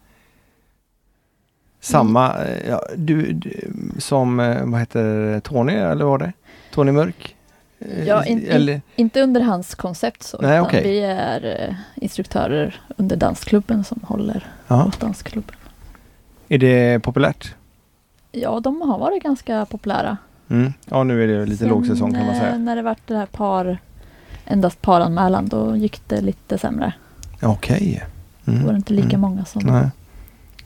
Speaker 1: Samma, eh, ja, du, du som, eh, vad heter det, Tony eller vad var det? Tony Mörk? Eh,
Speaker 3: Ja, in- in-
Speaker 1: eller,
Speaker 3: Inte under hans koncept så.
Speaker 1: Nej,
Speaker 3: utan
Speaker 1: okej.
Speaker 3: Vi är eh, instruktörer under dansklubben som håller
Speaker 1: ja.
Speaker 3: åt dansklubben.
Speaker 1: Är det populärt?
Speaker 3: Ja, de har varit ganska populära.
Speaker 1: Mm. Ja, nu är det lite
Speaker 3: Sen,
Speaker 1: lågsäsong kan man
Speaker 3: eh,
Speaker 1: säga.
Speaker 3: När det vart det här par, endast paranmälan, då gick det lite sämre.
Speaker 1: Okej.
Speaker 3: Då var det
Speaker 1: Mm.
Speaker 3: inte lika
Speaker 1: Mm.
Speaker 3: många som
Speaker 1: Nej.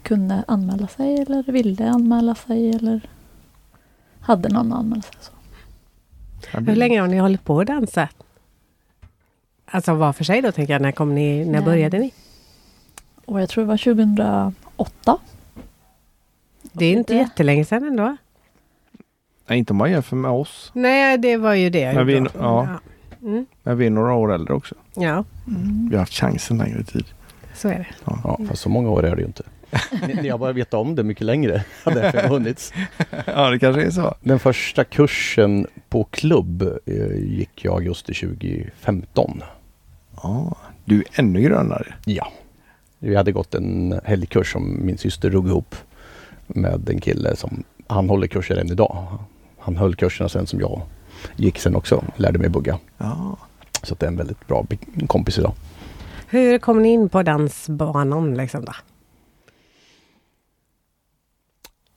Speaker 3: kunde anmäla sig eller ville anmäla sig eller hade någon att anmäla sig. Så.
Speaker 2: Hur länge har ni hållit på att dansa? Alltså var för sig då, tänker jag. När, kom ni, när
Speaker 3: Nej.
Speaker 2: började ni?
Speaker 3: Och jag tror det var 2008.
Speaker 2: Det är inte
Speaker 3: det-
Speaker 2: jättelänge sedan ändå.
Speaker 1: Nej, inte om man jämför med oss.
Speaker 2: Nej, det var ju det jag
Speaker 1: Men vi-
Speaker 2: gjorde.
Speaker 1: ja.
Speaker 2: Mm.
Speaker 1: Men vi är några år äldre också.
Speaker 2: Ja,
Speaker 3: Mm.
Speaker 1: Vi har haft chansen längre tid.
Speaker 2: så är det.
Speaker 4: Ja, fast så många år är det ju inte. Ni, ni har bara vetat om det mycket längre. Hade jag funnits.
Speaker 1: ja, det kanske är så.
Speaker 4: Den första kursen på klubb eh, gick jag augusti 2015.
Speaker 1: Ja, du är ännu grönare.
Speaker 4: Ja. Vi hade gått en helgkurs som min syster drog ihop med en kille som han håller kurser än idag. Han höll kurserna sen som jag gick sen också, lärde mig bugga.
Speaker 1: Ja.
Speaker 4: Så att det är en väldigt bra bi- kompis idag.
Speaker 2: Hur kom ni in på dansbanan liksom då?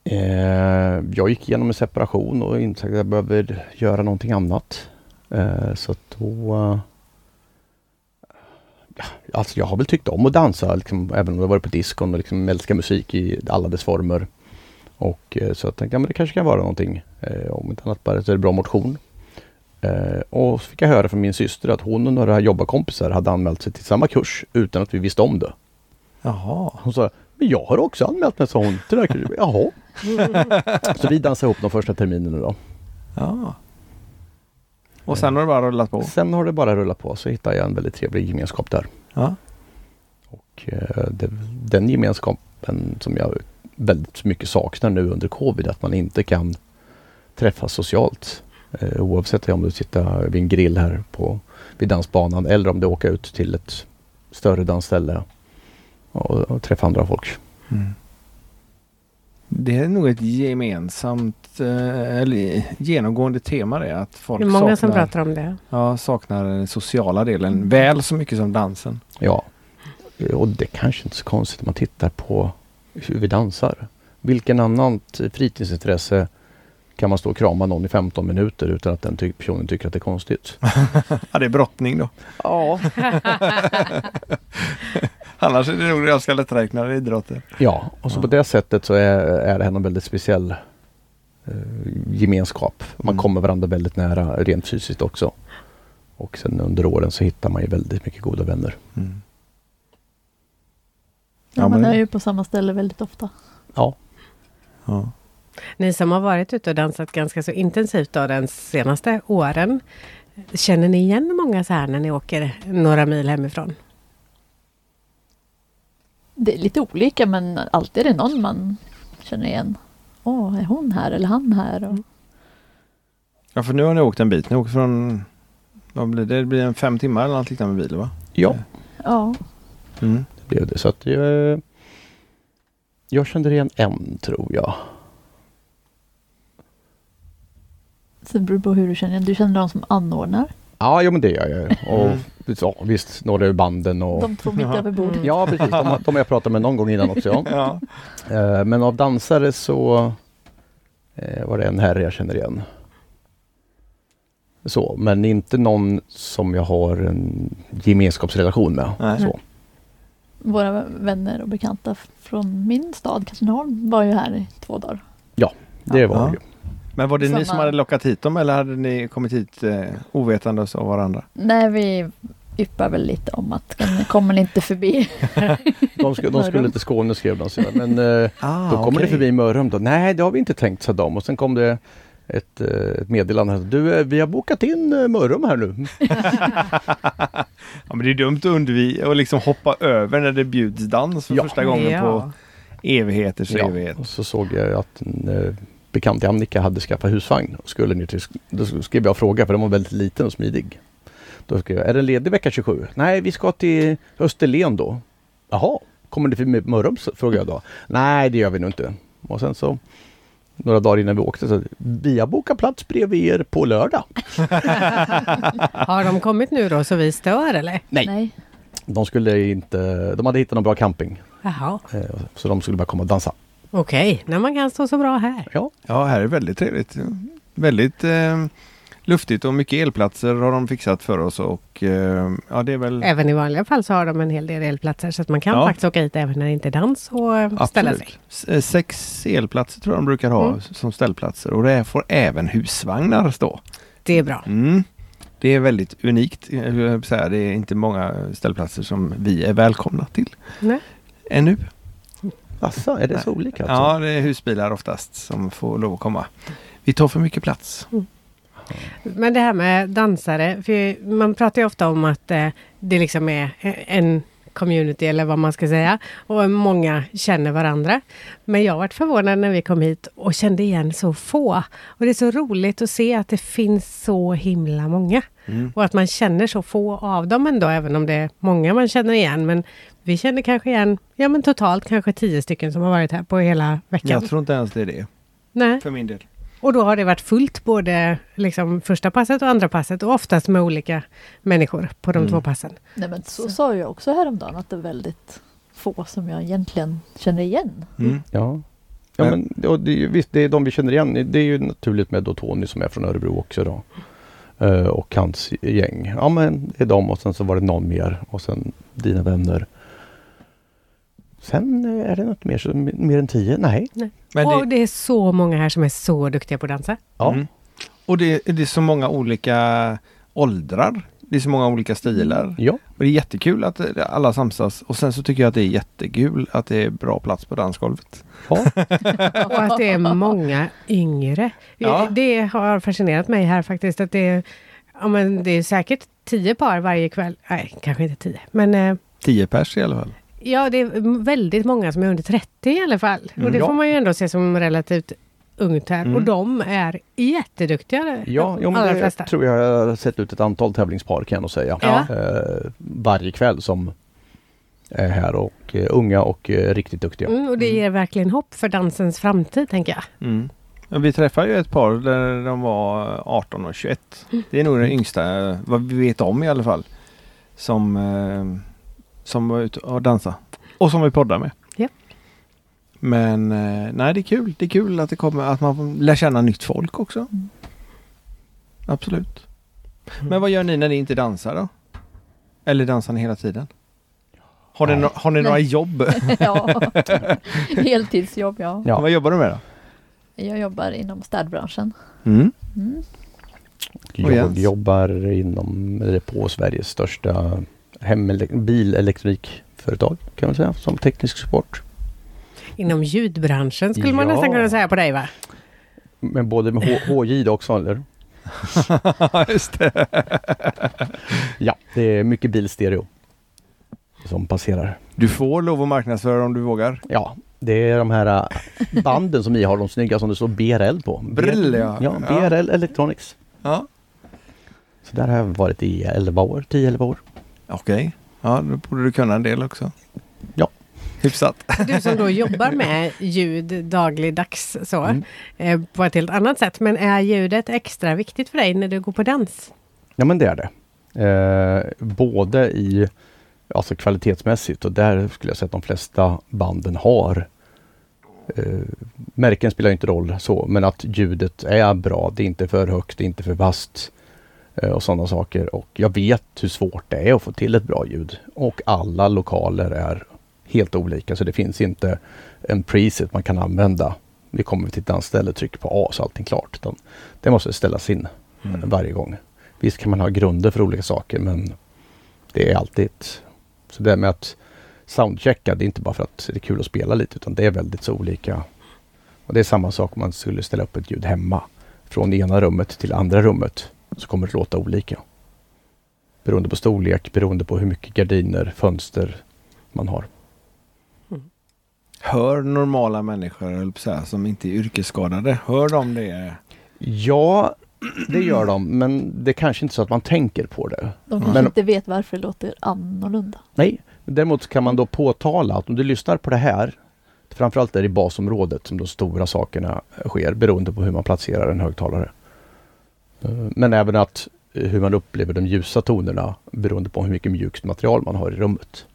Speaker 4: Eh, jag gick igenom en separation och insåg att jag behöver göra någonting annat. Eh, så att då... Eh, ja, alltså jag har väl tyckt om att dansa, liksom, även om jag varit på diskon och liksom älskar musik i alla dess former. Och eh, så jag tänkte att ja, men det kanske kan vara någonting. Eh, om inte annat bara så är det bra motion. Eh, och så fick jag höra från min syster att hon och några jobbarkompisar hade anmält sig till samma kurs utan att vi visste om det.
Speaker 1: Jaha.
Speaker 4: Hon sa, men jag har också anmält mig, sa hon. Till det här kursen. Jaha. Så vi dansade ihop de första terminerna då.
Speaker 1: Ja. Och sen har det bara rullat på.
Speaker 4: Sen har det bara rullat på, så hittade jag en väldigt trevlig gemenskap där.
Speaker 1: Ja.
Speaker 4: Och eh, det, den gemenskapen som jag väldigt mycket saknar nu under covid, att man inte kan träffas socialt. Eh, oavsett om du sitter vid en grill här på, vid dansbanan eller om du åker ut till ett större dansställe och, och träffar andra folk.
Speaker 1: Mm. Det är nog ett gemensamt, eh, eller genomgående tema det. Att folk
Speaker 2: Det är många som
Speaker 1: saknar,
Speaker 2: pratar om det.
Speaker 1: ja, saknar den sociala delen väl så mycket som dansen.
Speaker 4: Ja, och det kanske inte är så konstigt om man tittar på hur vi dansar. Vilken annan t- fritidsintresse kan man stå och krama någon i 15 minuter utan att den ty- personen tycker att det är konstigt?
Speaker 1: Ja, det är brottning då.
Speaker 4: Ja.
Speaker 1: Annars är det nog ganska lätträknade idrotter.
Speaker 4: ja, och så på det sättet så är, är det här någon väldigt speciell eh, gemenskap. Man
Speaker 1: Mm.
Speaker 4: kommer varandra väldigt nära rent fysiskt också. Och sen under åren så hittar man ju väldigt mycket goda vänner.
Speaker 1: Mm.
Speaker 3: Ja,
Speaker 1: Ja,
Speaker 3: man
Speaker 1: men-
Speaker 3: är ju på samma ställe väldigt ofta.
Speaker 4: Ja,
Speaker 1: Ja.
Speaker 2: Ni som har varit ute och dansat ganska så intensivt då de senaste åren. Känner ni igen många så här när ni åker några mil hemifrån?
Speaker 3: Det är lite olika men alltid är det någon man känner igen. Åh, är hon här eller han här? Och,
Speaker 1: ja, för nu har ni åkt en bit. Ni åker från, vad blir det? det blir en fem timmar eller något liknande med bil va?
Speaker 4: ja.
Speaker 3: ja,
Speaker 1: Mm.
Speaker 4: det blev det. Så att jag, jag kände igen en tror jag.
Speaker 3: så det beror på hur du känner igen. Du känner de som anordnar.
Speaker 4: Ja, jo, men det gör jag ju. Och
Speaker 1: Mm.
Speaker 4: ja, visst, några ur banden och...
Speaker 3: De två mitt
Speaker 1: Jaha.
Speaker 3: över bordet.
Speaker 4: Ja, precis. De, de har jag pratat med någon gång innan också. Ja.
Speaker 1: Ja.
Speaker 4: Eh, Men av dansare så eh, var det en herre jag känner igen. Så, men inte någon som jag har en gemenskapsrelation med.
Speaker 1: Nej.
Speaker 4: Så.
Speaker 3: Våra vänner och bekanta f- från min stad Katrineholm var ju här i två dagar.
Speaker 4: Det var det ju.
Speaker 1: Men var det ni som
Speaker 3: Samma-
Speaker 1: hade lockat hit dem eller hade ni kommit hit eh, ovetandes av varandra?
Speaker 3: Nej, vi yppar väl lite om att kan- kommer ni inte förbi?
Speaker 4: De, sku, de skulle till Skåne skrev de sedan. Men eh,
Speaker 1: Ah,
Speaker 4: Då kommer det
Speaker 1: okej.
Speaker 4: förbi Mörrum då. Nej, det har vi inte tänkt, sa de. Och sen kom det ett, eh, ett meddelande. här. Du, eh, vi har bokat in eh, Mörrum här nu.
Speaker 1: Ja, men det är dumt att undvika och liksom hoppa över när det bjuds dans för
Speaker 4: Ja.
Speaker 1: första gången på evigheters
Speaker 4: Ja,
Speaker 1: evighet.
Speaker 4: och så såg jag att en eh, bekant till Annika hade skaffat husvagn. Och skulle ner till, då skrev jag fråga, för den var väldigt liten och smidig. Då skrev jag, är den ledig vecka 27? Nej, vi ska till Österlen då. Jaha, kommer det förbi Mörrum? så- frågade jag då. Nej, det gör vi nog inte. Och sen så några dagar innan vi åkte så vi har bokat plats bredvid er på lördag.
Speaker 2: Har de kommit nu då så vi stör eller?
Speaker 4: Nej.
Speaker 3: Nej.
Speaker 4: De skulle inte, de hade hittat någon bra camping.
Speaker 2: Jaha,
Speaker 4: eh, Så de skulle bara komma och dansa.
Speaker 2: okej, när man kan stå så bra här.
Speaker 4: Ja,
Speaker 1: Ja, här är väldigt trevligt. Väldigt eh, luftigt och mycket elplatser har de fixat för oss och eh, ja, det är väl
Speaker 2: Även i vanliga fall så har de en hel del elplatser så att man kan
Speaker 1: Ja.
Speaker 2: faktiskt åka hit även när det inte är dans och eh, ställa sig.
Speaker 1: absolut. S- Sex elplatser tror jag de brukar ha
Speaker 2: Mm.
Speaker 1: som ställplatser och det får även husvagnar stå.
Speaker 2: Det är bra.
Speaker 1: Mm. Det är väldigt unikt. eh, hur jag vill säga, Det är inte många ställplatser som vi är välkomna till
Speaker 2: Nej.
Speaker 1: ännu.
Speaker 4: Asså, är det så olika? Alltså?
Speaker 1: Ja, det är husbilar oftast som får lov att komma. Vi tar för mycket plats.
Speaker 2: Men det här med dansare, för man pratar ju ofta om att eh, det liksom är en community eller vad man ska säga. Och många känner varandra. Men jag varit förvånad när vi kom hit och kände igen så få. Och det är så roligt att se att det finns så himla många.
Speaker 1: Mm.
Speaker 2: Och att man känner så få av dem ändå, även om det är många man känner igen. Men vi känner kanske igen, ja men totalt kanske tio stycken som har varit här på hela veckan.
Speaker 1: Jag tror inte ens det är det.
Speaker 2: Nej.
Speaker 1: För min del.
Speaker 2: Och då har det varit fullt både liksom första passet och andra passet och oftast med olika människor på de
Speaker 1: Mm.
Speaker 2: två passen.
Speaker 3: Nej men så,
Speaker 2: Så.
Speaker 3: sa jag också häromdagen att det är väldigt få som jag egentligen känner igen.
Speaker 1: Mm.
Speaker 4: Ja. Ja,
Speaker 1: Men-
Speaker 4: men, och det är ju, visst, det är de vi känner igen. Det är ju naturligt med då Tony som är från Örebro också då. Eh, och hans gäng. Ja men det är de och sen så var det någon mer och sen dina vänner. Sen eh, är det något mer, så, mer än tio? Nej.
Speaker 1: Men
Speaker 2: och
Speaker 1: det,
Speaker 2: det är så många här som är så duktiga på att dansa.
Speaker 4: Ja.
Speaker 1: Mm. och det, det är så många olika åldrar. Det är så många olika stilar.
Speaker 4: Ja.
Speaker 1: Och det är jättekul att eh, alla samsas. Och sen så tycker jag att det är jättekul att det är bra plats på dansgolvet.
Speaker 4: ja.
Speaker 2: Och att det är många yngre. Eh,
Speaker 1: Ja.
Speaker 2: Det har fascinerat mig här faktiskt. Att det, är, ja, men det är säkert tio par varje kväll. Nej, kanske inte tio. Men eh,
Speaker 1: 10 pers i alla fall.
Speaker 2: ja, det är väldigt många som är under 30 i alla fall. Och
Speaker 1: Mm.
Speaker 2: det
Speaker 1: Ja.
Speaker 2: får man ju ändå se som relativt ungt här.
Speaker 1: Mm.
Speaker 2: Och de är jätteduktiga.
Speaker 4: Ja,
Speaker 2: de
Speaker 4: jo,
Speaker 2: allra
Speaker 4: men det
Speaker 2: flesta.
Speaker 4: tror jag jag har sett ut ett antal tävlingspar kan jag nog säga.
Speaker 2: Ja.
Speaker 4: Eh, varje kväll som är här och eh, unga och eh, riktigt duktiga.
Speaker 2: Mm, och det
Speaker 1: Mm.
Speaker 2: ger verkligen hopp för dansens framtid, tänker jag.
Speaker 1: Mm. Men Vi träffade ju ett par där de var 18 och 21. Det är nog den yngsta, eh, vad vi vet om i alla fall, som, eh, som var ute och dansa. Och som vi poddar med.
Speaker 2: Ja.
Speaker 1: Men eh, nej, det är kul. Det är kul att, det kommer, att man lär känna nytt folk också.
Speaker 3: Mm.
Speaker 1: Absolut. Men vad gör ni när ni inte dansar då? Eller dansar ni hela tiden? Har ni,
Speaker 4: Nej.
Speaker 1: no- har ni några
Speaker 3: Nej.
Speaker 1: jobb?
Speaker 3: ja. Heltidsjobb ja.
Speaker 4: Ja.
Speaker 1: Vad jobbar du med då?
Speaker 3: Jag jobbar inom städbranschen.
Speaker 1: Mm.
Speaker 3: Mm.
Speaker 1: Och
Speaker 4: Jag
Speaker 1: Jens?
Speaker 4: jobbar inom, eller på Sveriges största hemele- bilelektronikföretag kan man säga, som teknisk support.
Speaker 2: Inom ljudbranschen skulle man
Speaker 4: Ja.
Speaker 2: nästan kunna säga på dig, va?
Speaker 4: Men både med H- HJ då också eller?
Speaker 1: Just det.
Speaker 4: Ja, det är mycket bilstereo som passerar.
Speaker 1: Du får lov att marknadsföra om du vågar.
Speaker 4: Ja, det är de här äh, banden som ni har, de snygga som det står BRL på.
Speaker 1: Brill, ja.
Speaker 4: Ja, BRL Electronics.
Speaker 1: Ja.
Speaker 4: Så där har jag varit i 11 år, 10-11 år.
Speaker 1: Okej. Ja, då borde du kunna en del också.
Speaker 4: Ja.
Speaker 1: Hyfsat.
Speaker 2: Du som då jobbar med ljud dagligdags så,
Speaker 4: Mm.
Speaker 2: eh, på ett helt annat sätt. Men är ljudet extra viktigt för dig när du går på dans?
Speaker 4: Ja men det är det. Eh, både i alltså kvalitetsmässigt och där skulle jag säga att de flesta banden har eh, Märken spelar ju inte roll så men att ljudet är bra. Det är inte för högt, det är inte för vasst eh, och sådana saker. Och jag vet hur svårt det är att få till ett bra ljud. Och alla lokaler är helt olika så det finns inte en preset man kan använda. Vi kommer till ett dansställe, trycker på A så är allting klart. Utan det måste ställas in Mm. varje gång. Visst kan man ha grunder för olika saker men det är alltid... Så det här med att soundchecka, det är inte bara för att det är kul att spela lite utan det är väldigt så olika. Och det är samma sak om man skulle ställa upp ett ljud hemma. Från det ena rummet till det andra rummet så kommer det låta olika. Beroende på storlek, beroende på hur mycket gardiner, fönster man har.
Speaker 1: Hör normala människor, höll jag på att säga, som inte är yrkesskadade. Hör de
Speaker 4: Mm.
Speaker 1: det?
Speaker 4: Ja, det gör de men det är kanske inte så att man tänker på det.
Speaker 3: De kanske
Speaker 4: Men-
Speaker 3: inte vet varför det låter annorlunda.
Speaker 4: Nej, däremot kan man då påtala att om du lyssnar på det här, framförallt är det i basområdet som de stora sakerna sker beroende på hur man placerar en högtalare. Eh, Men även att eh, hur man upplever de ljusa tonerna beroende på hur mycket mjukt material man har i rummet.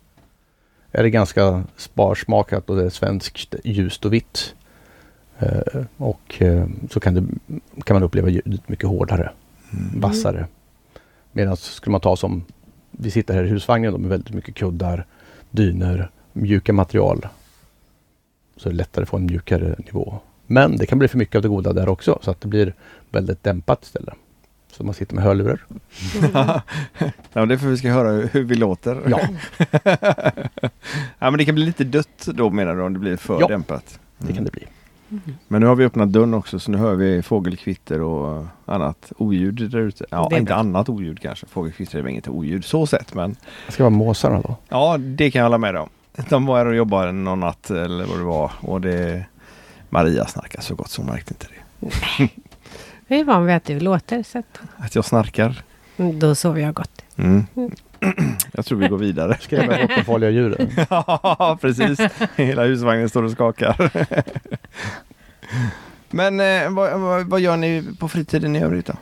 Speaker 4: Är det ganska sparsmakat och det är svenskt ljust och vitt eh, och eh, så kan, det, kan man uppleva ljudet mycket hårdare, vassare. Medan skulle man ta som vi sitter här i husvagnen då med väldigt mycket kuddar, dyner, mjuka material. Så är det lättare att få en mjukare nivå. Men det kan bli för mycket av det goda där också så att det blir väldigt dämpat istället. Så man sitter med hörlurar.
Speaker 1: Ja, det är för vi ska höra hur vi låter.
Speaker 4: Ja,
Speaker 1: ja, men det kan bli lite dött då menar du om det blir för
Speaker 4: Ja.
Speaker 1: dämpat? Mm.
Speaker 4: det kan det bli.
Speaker 1: Men nu har vi öppnat dörren också så nu hör vi fågelkvitter och annat oljud där ute. Ja,
Speaker 2: Det är
Speaker 1: inte
Speaker 2: bra.
Speaker 1: annat oljud kanske. Fågelkvitter är väl inget oljud så sett men
Speaker 4: Ska vara måsarna då?
Speaker 1: ja, det kan jag hålla med om. De var här och jobbade någon natt eller vad det var och det Maria snarkade så gott så hon märkte inte det.
Speaker 2: Jag är van vid att du låter så att,
Speaker 1: Att jag snarkar.
Speaker 2: mm, då sover jag gott.
Speaker 1: Mm. Jag tror vi går vidare.
Speaker 4: Ska jag med bort farliga djuren?
Speaker 1: Ja, precis. Hela husvagnen står och skakar. Men eh, vad, vad, vad gör ni på fritiden i övrigt då?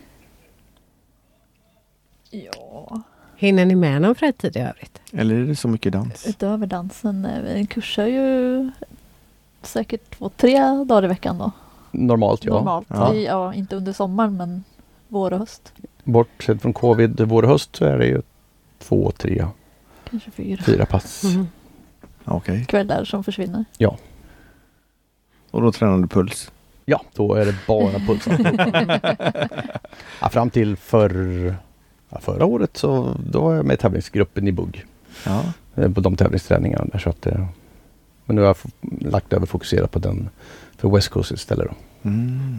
Speaker 3: Ja,
Speaker 2: Hinner ni med någon fritid i övrigt?
Speaker 1: Eller är det så mycket dans?
Speaker 3: utöver dansen. eh, Vi kursar ju säkert två, tre dagar i veckan då.
Speaker 4: Normalt ja.
Speaker 3: Normalt.
Speaker 1: Ja.
Speaker 3: Ja. ja, inte under sommaren men vår och höst.
Speaker 4: Bortsett från covid vår och höst så är det ju två, tre,
Speaker 3: Kanske fyra
Speaker 4: fyra pass.
Speaker 2: Mhm.
Speaker 1: Okej.
Speaker 3: kvällar som försvinner.
Speaker 1: Och då tränar du puls?
Speaker 4: Ja, då är det bara pulsen. ja, fram till förr, ja, förra året så då var jag med i tävlingsgruppen i bugg.
Speaker 1: Ja.
Speaker 4: eh, på de tävlingsträningarna där. Så att, eh, men nu har jag f- lagt över fokuserat på den för West Coast istället. Då.
Speaker 1: Mm.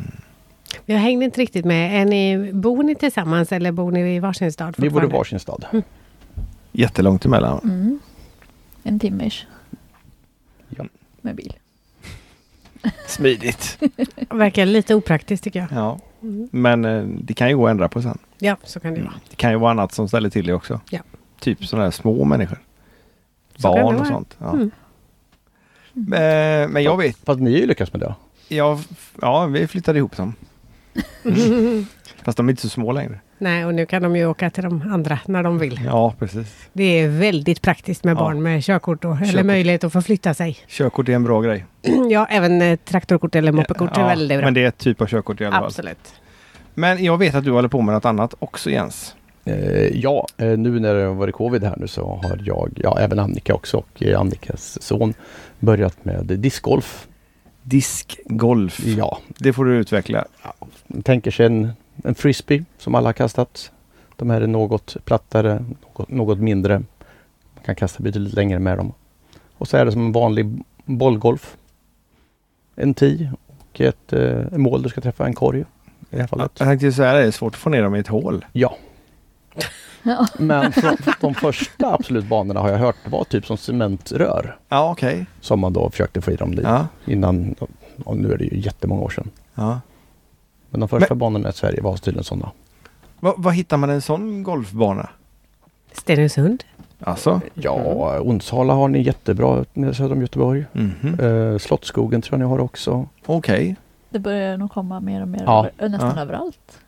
Speaker 2: Jag hängde inte riktigt med. Är ni, bor ni tillsammans eller bor ni i varsin stad?
Speaker 4: Vi bor i
Speaker 2: fortfarande?
Speaker 4: varsin stad.
Speaker 1: Jättelångt emellan.
Speaker 3: Mm. En timme ish.
Speaker 4: Ja.
Speaker 3: Med bil.
Speaker 1: Smidigt.
Speaker 2: Verkar lite opraktiskt tycker jag.
Speaker 1: Ja.
Speaker 2: Mm.
Speaker 1: Men eh, det kan ju gå att ändra på sen.
Speaker 2: Ja, så kan det vara.
Speaker 1: Det kan ju vara annat som ställer till det också.
Speaker 2: Ja.
Speaker 1: Typ sådana här små människor.
Speaker 2: Så kan det
Speaker 1: Barn och
Speaker 2: vara.
Speaker 1: sånt. Ja.
Speaker 2: Mm.
Speaker 1: Men, eh, men jag vet,
Speaker 4: Fast ni har ju lyckats med det.
Speaker 1: jag, ja vi flyttade ihop dem. Fast de är inte så små längre.
Speaker 2: Nej, och nu kan de ju åka till de andra när de vill.
Speaker 1: Ja, precis.
Speaker 2: Det är väldigt praktiskt med
Speaker 1: Ja.
Speaker 2: barn med körkort och, eller
Speaker 1: Körkort.
Speaker 2: möjlighet att förflytta sig.
Speaker 1: Körkort är en bra grej.
Speaker 2: Ja, även eh, traktorkort eller moppekort är väldigt bra.
Speaker 1: Men det är ett typ av körkort i alla fall.
Speaker 2: Absolut.
Speaker 1: Men jag vet att du håller på med något annat också Jens.
Speaker 4: Eh, ja, eh, nu när det har varit covid här nu så har jag, ja även Annika också och eh, Annikas son börjat med discgolf.
Speaker 1: Diskgolf.
Speaker 4: Ja,
Speaker 1: Det får du utveckla.
Speaker 4: tänker sig en, en frisbee som alla har kastat. De här är något plattare, något, något mindre. Man kan kasta betydligt längre med dem. Och så är det som en vanlig bollgolf. En tee och ett eh, mål du ska träffa, en korg. I det här
Speaker 1: Jag
Speaker 4: fallet.
Speaker 1: tänkte ju säga det, det är svårt att få ner dem i ett hål.
Speaker 4: Ja.
Speaker 3: Ja.
Speaker 4: Men från, de första Absolut banorna har jag hört var typ som cementrör.
Speaker 1: Ja, okej.
Speaker 4: Som man då försökte få i dem dit.
Speaker 1: Ja,
Speaker 4: Innan, och nu är det ju jättemånga år sedan.
Speaker 1: ja.
Speaker 4: Men de första banorna i Sverige var tydligen sådana.
Speaker 1: Va, vad hittar man en sån golfbana?
Speaker 2: Stenungsund.
Speaker 1: Alltså?
Speaker 4: Ja, Onsala har ni jättebra nere söder om Göteborg.
Speaker 1: Mhm.
Speaker 4: Eh, Slottsskogen tror jag ni har också.
Speaker 1: Okej.
Speaker 3: Det börjar nog komma mer och mer.
Speaker 4: Ja.
Speaker 3: Över, nästan
Speaker 1: Ja.
Speaker 3: överallt.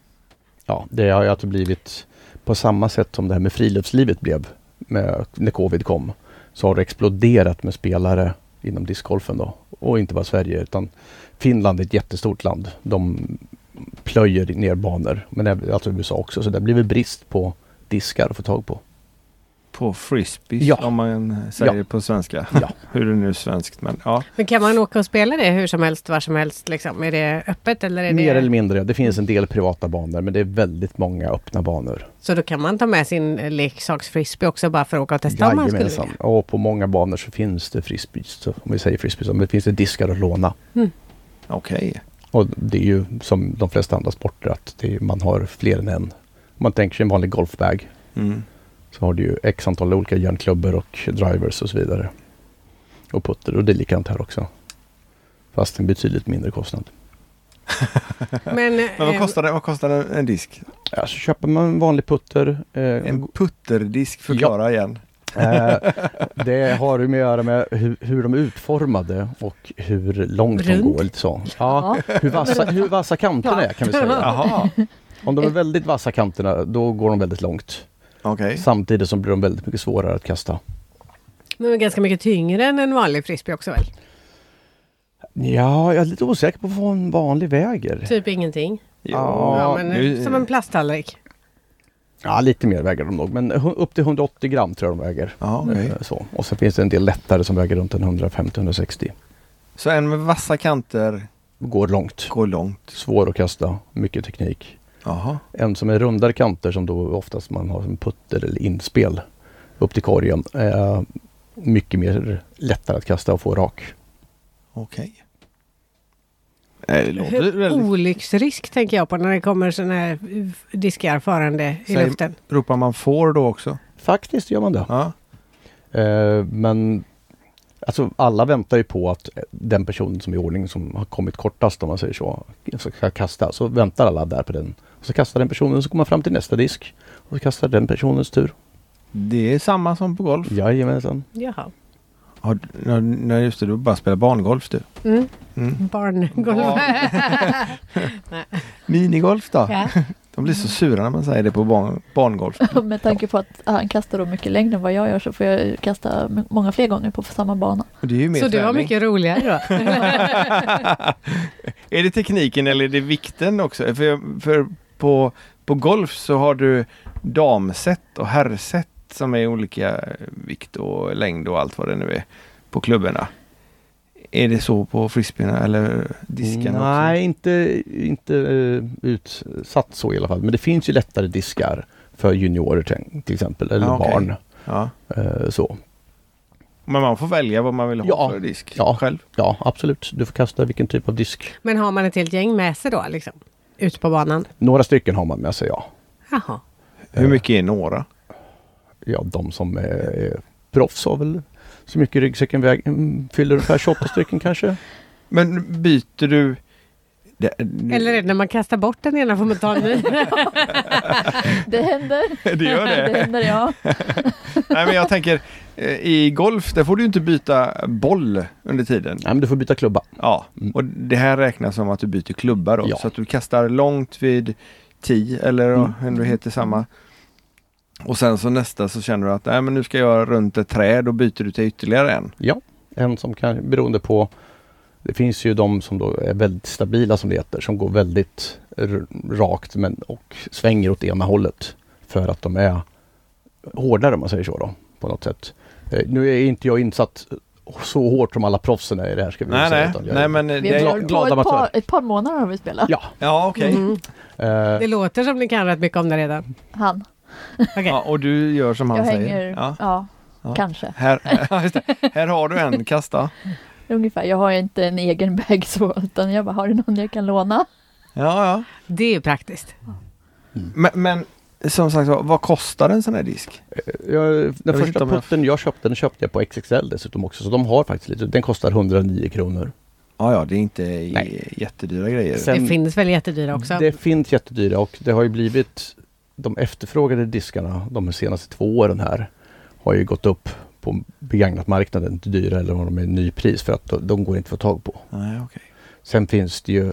Speaker 4: Ja, det har ju alltså blivit på samma sätt som det här med friluftslivet blev med, när covid kom. Så har det exploderat med spelare inom discgolfen då. Och inte bara Sverige utan Finland är ett jättestort land. De plöjer ner banor. Men även, alltså USA också. Så det blir väl brist på diskar att få tag på.
Speaker 1: På frisbee
Speaker 4: Ja.
Speaker 1: om man eh, säger
Speaker 4: Ja.
Speaker 1: på svenska.
Speaker 4: Ja.
Speaker 1: Hur är det nu är svenskt men ja.
Speaker 2: Men kan man åka och spela det hur som helst, var som helst? Liksom? Är det öppet eller är
Speaker 4: Mer
Speaker 2: det...
Speaker 4: eller mindre. Det finns en del privata banor men det är väldigt många öppna banor.
Speaker 2: Så då kan man ta med sin eh, leksaksfrisbee också bara för att åka och testa om man skulle vilja.
Speaker 4: Jajamensan. Och på många banor så finns det frisbees, så om vi säger frisbees, men det finns det diskar att låna.
Speaker 1: Okej.
Speaker 4: Och det är ju som de flesta andra sporter att det är, man har fler än en. Om man tänker sig en vanlig golfbag
Speaker 1: Mm.
Speaker 4: så har du ju x antal olika järnklubbor och drivers och så vidare. Och putter och det är likadant här också. Fast en betydligt mindre kostnad.
Speaker 2: Men,
Speaker 1: Men vad
Speaker 2: eh,
Speaker 1: kostar, det, vad kostar en, en disk?
Speaker 4: Alltså köper man en vanlig putter eh,
Speaker 1: En putterdisk, förklara igen.
Speaker 4: Eh, det har ju med att göra med hur, hur de är utformade och hur långt de
Speaker 2: Runt.
Speaker 4: går. Lite så. Ja, hur, vassa, hur vassa kanterna är kan vi säga.
Speaker 1: Jaha,
Speaker 4: Om de är väldigt vassa kanterna då går de väldigt långt.
Speaker 1: okej.
Speaker 4: Samtidigt som blir de väldigt mycket svårare att kasta.
Speaker 2: Men de är ganska mycket tyngre än en vanlig frisbee också väl?
Speaker 4: Ja, jag är lite osäker på vad en vanlig väger.
Speaker 2: Typ ingenting.
Speaker 1: Ja,
Speaker 2: ja, men, eh,
Speaker 1: nu-
Speaker 2: Som en plasttallrik.
Speaker 4: Ja, lite mer väger de nog. Men hu- upp till 180 gram tror jag de väger.
Speaker 1: Ja, okej.
Speaker 4: Eh, Så. Och sen finns det en del lättare som väger runt en 150-160.
Speaker 1: Så en med vassa kanter
Speaker 4: Går långt.
Speaker 1: går långt.
Speaker 4: Svår att kasta. Mycket teknik.
Speaker 1: Jaha.
Speaker 4: En som är rundare kanter som då oftast man har som putter eller inspel upp till korgen. Eh, mycket mer lättare att kasta och få rak.
Speaker 1: Okej. Eh, Det låter
Speaker 2: oh.
Speaker 1: väldigt...
Speaker 2: Olycksrisk tänker jag på när det kommer sådana här eh, diskar farande i
Speaker 1: Säg-
Speaker 2: luften.
Speaker 1: Ropar man får då också?
Speaker 4: Faktiskt gör man det.
Speaker 1: Ja.
Speaker 4: Eh, men alltså, alla väntar ju på att den person som är i ordning som har kommit kortast om man säger så, ska kasta. Så väntar alla där på den. Och så kastar den personen så kommer man fram till nästa disk. Och så kastar den personens tur.
Speaker 1: Det är samma som på golf.
Speaker 4: Jajamensan.
Speaker 2: Jaha.
Speaker 1: Har, ja, nej, just det, du bara spelar barngolf du.
Speaker 2: Mm.
Speaker 1: Mm.
Speaker 2: Barngolv.
Speaker 1: Minigolf då?
Speaker 2: ja.
Speaker 1: De blir så sura när man säger det på barn, barngolf.
Speaker 3: Med tanke på att han kastar då mycket längre än vad jag gör så får jag ju kasta m- många fler gånger på samma bana.
Speaker 1: Och Det är ju mer
Speaker 2: Så det var
Speaker 1: träning.
Speaker 2: mycket roligare då?
Speaker 1: är det tekniken eller är det vikten också? För, för på, på golf så har du damset och herrset som är olika vikt och längd och allt vad det nu är på klubborna. Är det så på frisbeerna eller diskarna
Speaker 4: Mm, Nej, inte, inte eh, utsatt så i alla fall. Men det finns ju lättare diskar för juniorer till till exempel, eller
Speaker 1: Ja, okej.
Speaker 4: barn.
Speaker 1: också? Ja.
Speaker 4: Eh, så.
Speaker 1: Men man får välja vad man vill ha
Speaker 4: Ja.
Speaker 1: för disk
Speaker 4: Ja.
Speaker 1: själv.
Speaker 4: Ja, absolut. Du får kasta vilken typ av disk.
Speaker 2: Men har man ett helt gäng med sig då liksom? Ut på banan?
Speaker 4: Några stycken har man med sig, ja.
Speaker 2: Jaha.
Speaker 1: Hur mycket är några?
Speaker 4: ja de som är, är proffs har väl så mycket ryggsäcken väg, mm, fyller ungefär 28 stycken kanske.
Speaker 1: Men byter du... Det, nu-
Speaker 2: Eller är det när man kastar bort den ena får man ta en ny?
Speaker 3: Det händer.
Speaker 1: det gör det?
Speaker 3: det händer, ja.
Speaker 1: Nej men jag tänker eh, i golf, där får du ju inte byta boll under tiden.
Speaker 4: Nej, men du får byta klubba.
Speaker 1: Ja,
Speaker 4: Mm.
Speaker 1: och det här räknas som att du byter klubba då.
Speaker 4: Ja.
Speaker 1: Så att du kastar långt vid 10 eller
Speaker 4: Mm.
Speaker 1: hur det heter samma. Och sen så nästa så känner du att nej, men nu ska jag runt ett träd och byter du till ytterligare en.
Speaker 4: En som kan, beroende på, det finns ju de som då är väldigt stabila som det heter, som går väldigt r- rakt men, och svänger åt ena hållet. För att de är hårdare om man säger så då, på något sätt. Eh, Nu är inte jag insatt så hårt som alla proffsen är i det här ska vi
Speaker 1: Nej,
Speaker 4: säga.
Speaker 1: nej.
Speaker 4: utan jag-
Speaker 1: nej men
Speaker 3: Vi
Speaker 1: det
Speaker 3: har
Speaker 4: gla-
Speaker 1: är...
Speaker 3: hållit på
Speaker 4: glada
Speaker 3: ett par,
Speaker 4: amatörer.
Speaker 3: ett par månader har vi spelat.
Speaker 4: Ja.
Speaker 1: Ja, okej.
Speaker 2: Mm.
Speaker 4: eh,
Speaker 2: Det låter som ni kan rätt mycket om det redan.
Speaker 3: Han.
Speaker 2: Okej.
Speaker 1: Ja, och du gör som han
Speaker 3: jag
Speaker 1: säger.
Speaker 3: hänger,
Speaker 1: Ja.
Speaker 3: ja.
Speaker 1: Ja.
Speaker 3: Kanske,
Speaker 1: Här, ja, just det. här har du en, kasta.
Speaker 3: ungefär. Jag har ju inte en egen bag så, utan jag bara, har du någon jag kan låna?
Speaker 1: Ja, ja.
Speaker 2: Det är ju praktiskt.
Speaker 1: Men, men som sagt var, vad kostar en sån här disk?
Speaker 4: Jag, den
Speaker 1: vet inte
Speaker 4: första
Speaker 1: om jag-
Speaker 4: putten jag köpte, den köpte jag på XXL dessutom också. Så de har faktiskt lite. Den kostar 109 kronor.
Speaker 1: Ja, ja, det är inte
Speaker 4: Nej.
Speaker 1: jättedyra grejer.
Speaker 4: Sen-
Speaker 2: det finns väl jättedyra också?
Speaker 4: Det finns jättedyra och det har ju blivit de efterfrågade diskarna de senaste två åren här har ju gått upp på begagnatmarknaden till dyra eller vad de är nypris för att de, de går inte att få tag på.
Speaker 1: Nej, okej.
Speaker 4: Sen finns det ju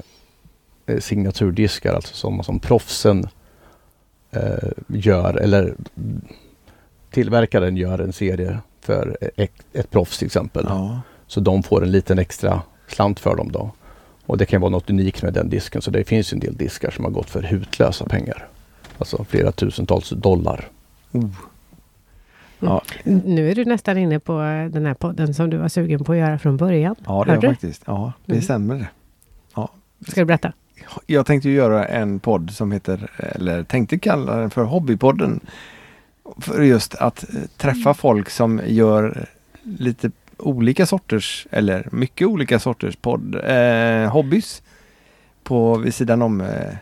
Speaker 4: eh, signaturdiskar, alltså sådana som proffsen eh, gör eller tillverkaren gör en serie för eh, ett, ett proffs till exempel.
Speaker 1: Ja.
Speaker 4: Så de får en liten extra slant för dem då. Och det kan vara något unikt med den disken. Så det finns ju en del diskar som har gått för hutlösa pengar. Alltså flera tusentals dollar.
Speaker 1: Ja,
Speaker 2: Nu är du nästan inne på den här podden som du var sugen på att göra från början.
Speaker 1: ja, det är
Speaker 2: Hörde du?
Speaker 1: faktiskt. Ja, det
Speaker 2: Mm.
Speaker 1: stämmer det.
Speaker 2: Ska du berätta?
Speaker 1: Jag tänkte ju göra en podd som heter, eller tänkte kalla den för Hobbypodden. För just att eh, träffa folk som gör lite olika sorters, eller mycket olika sorters podd, eh, hobbys på vid sidan om, eh,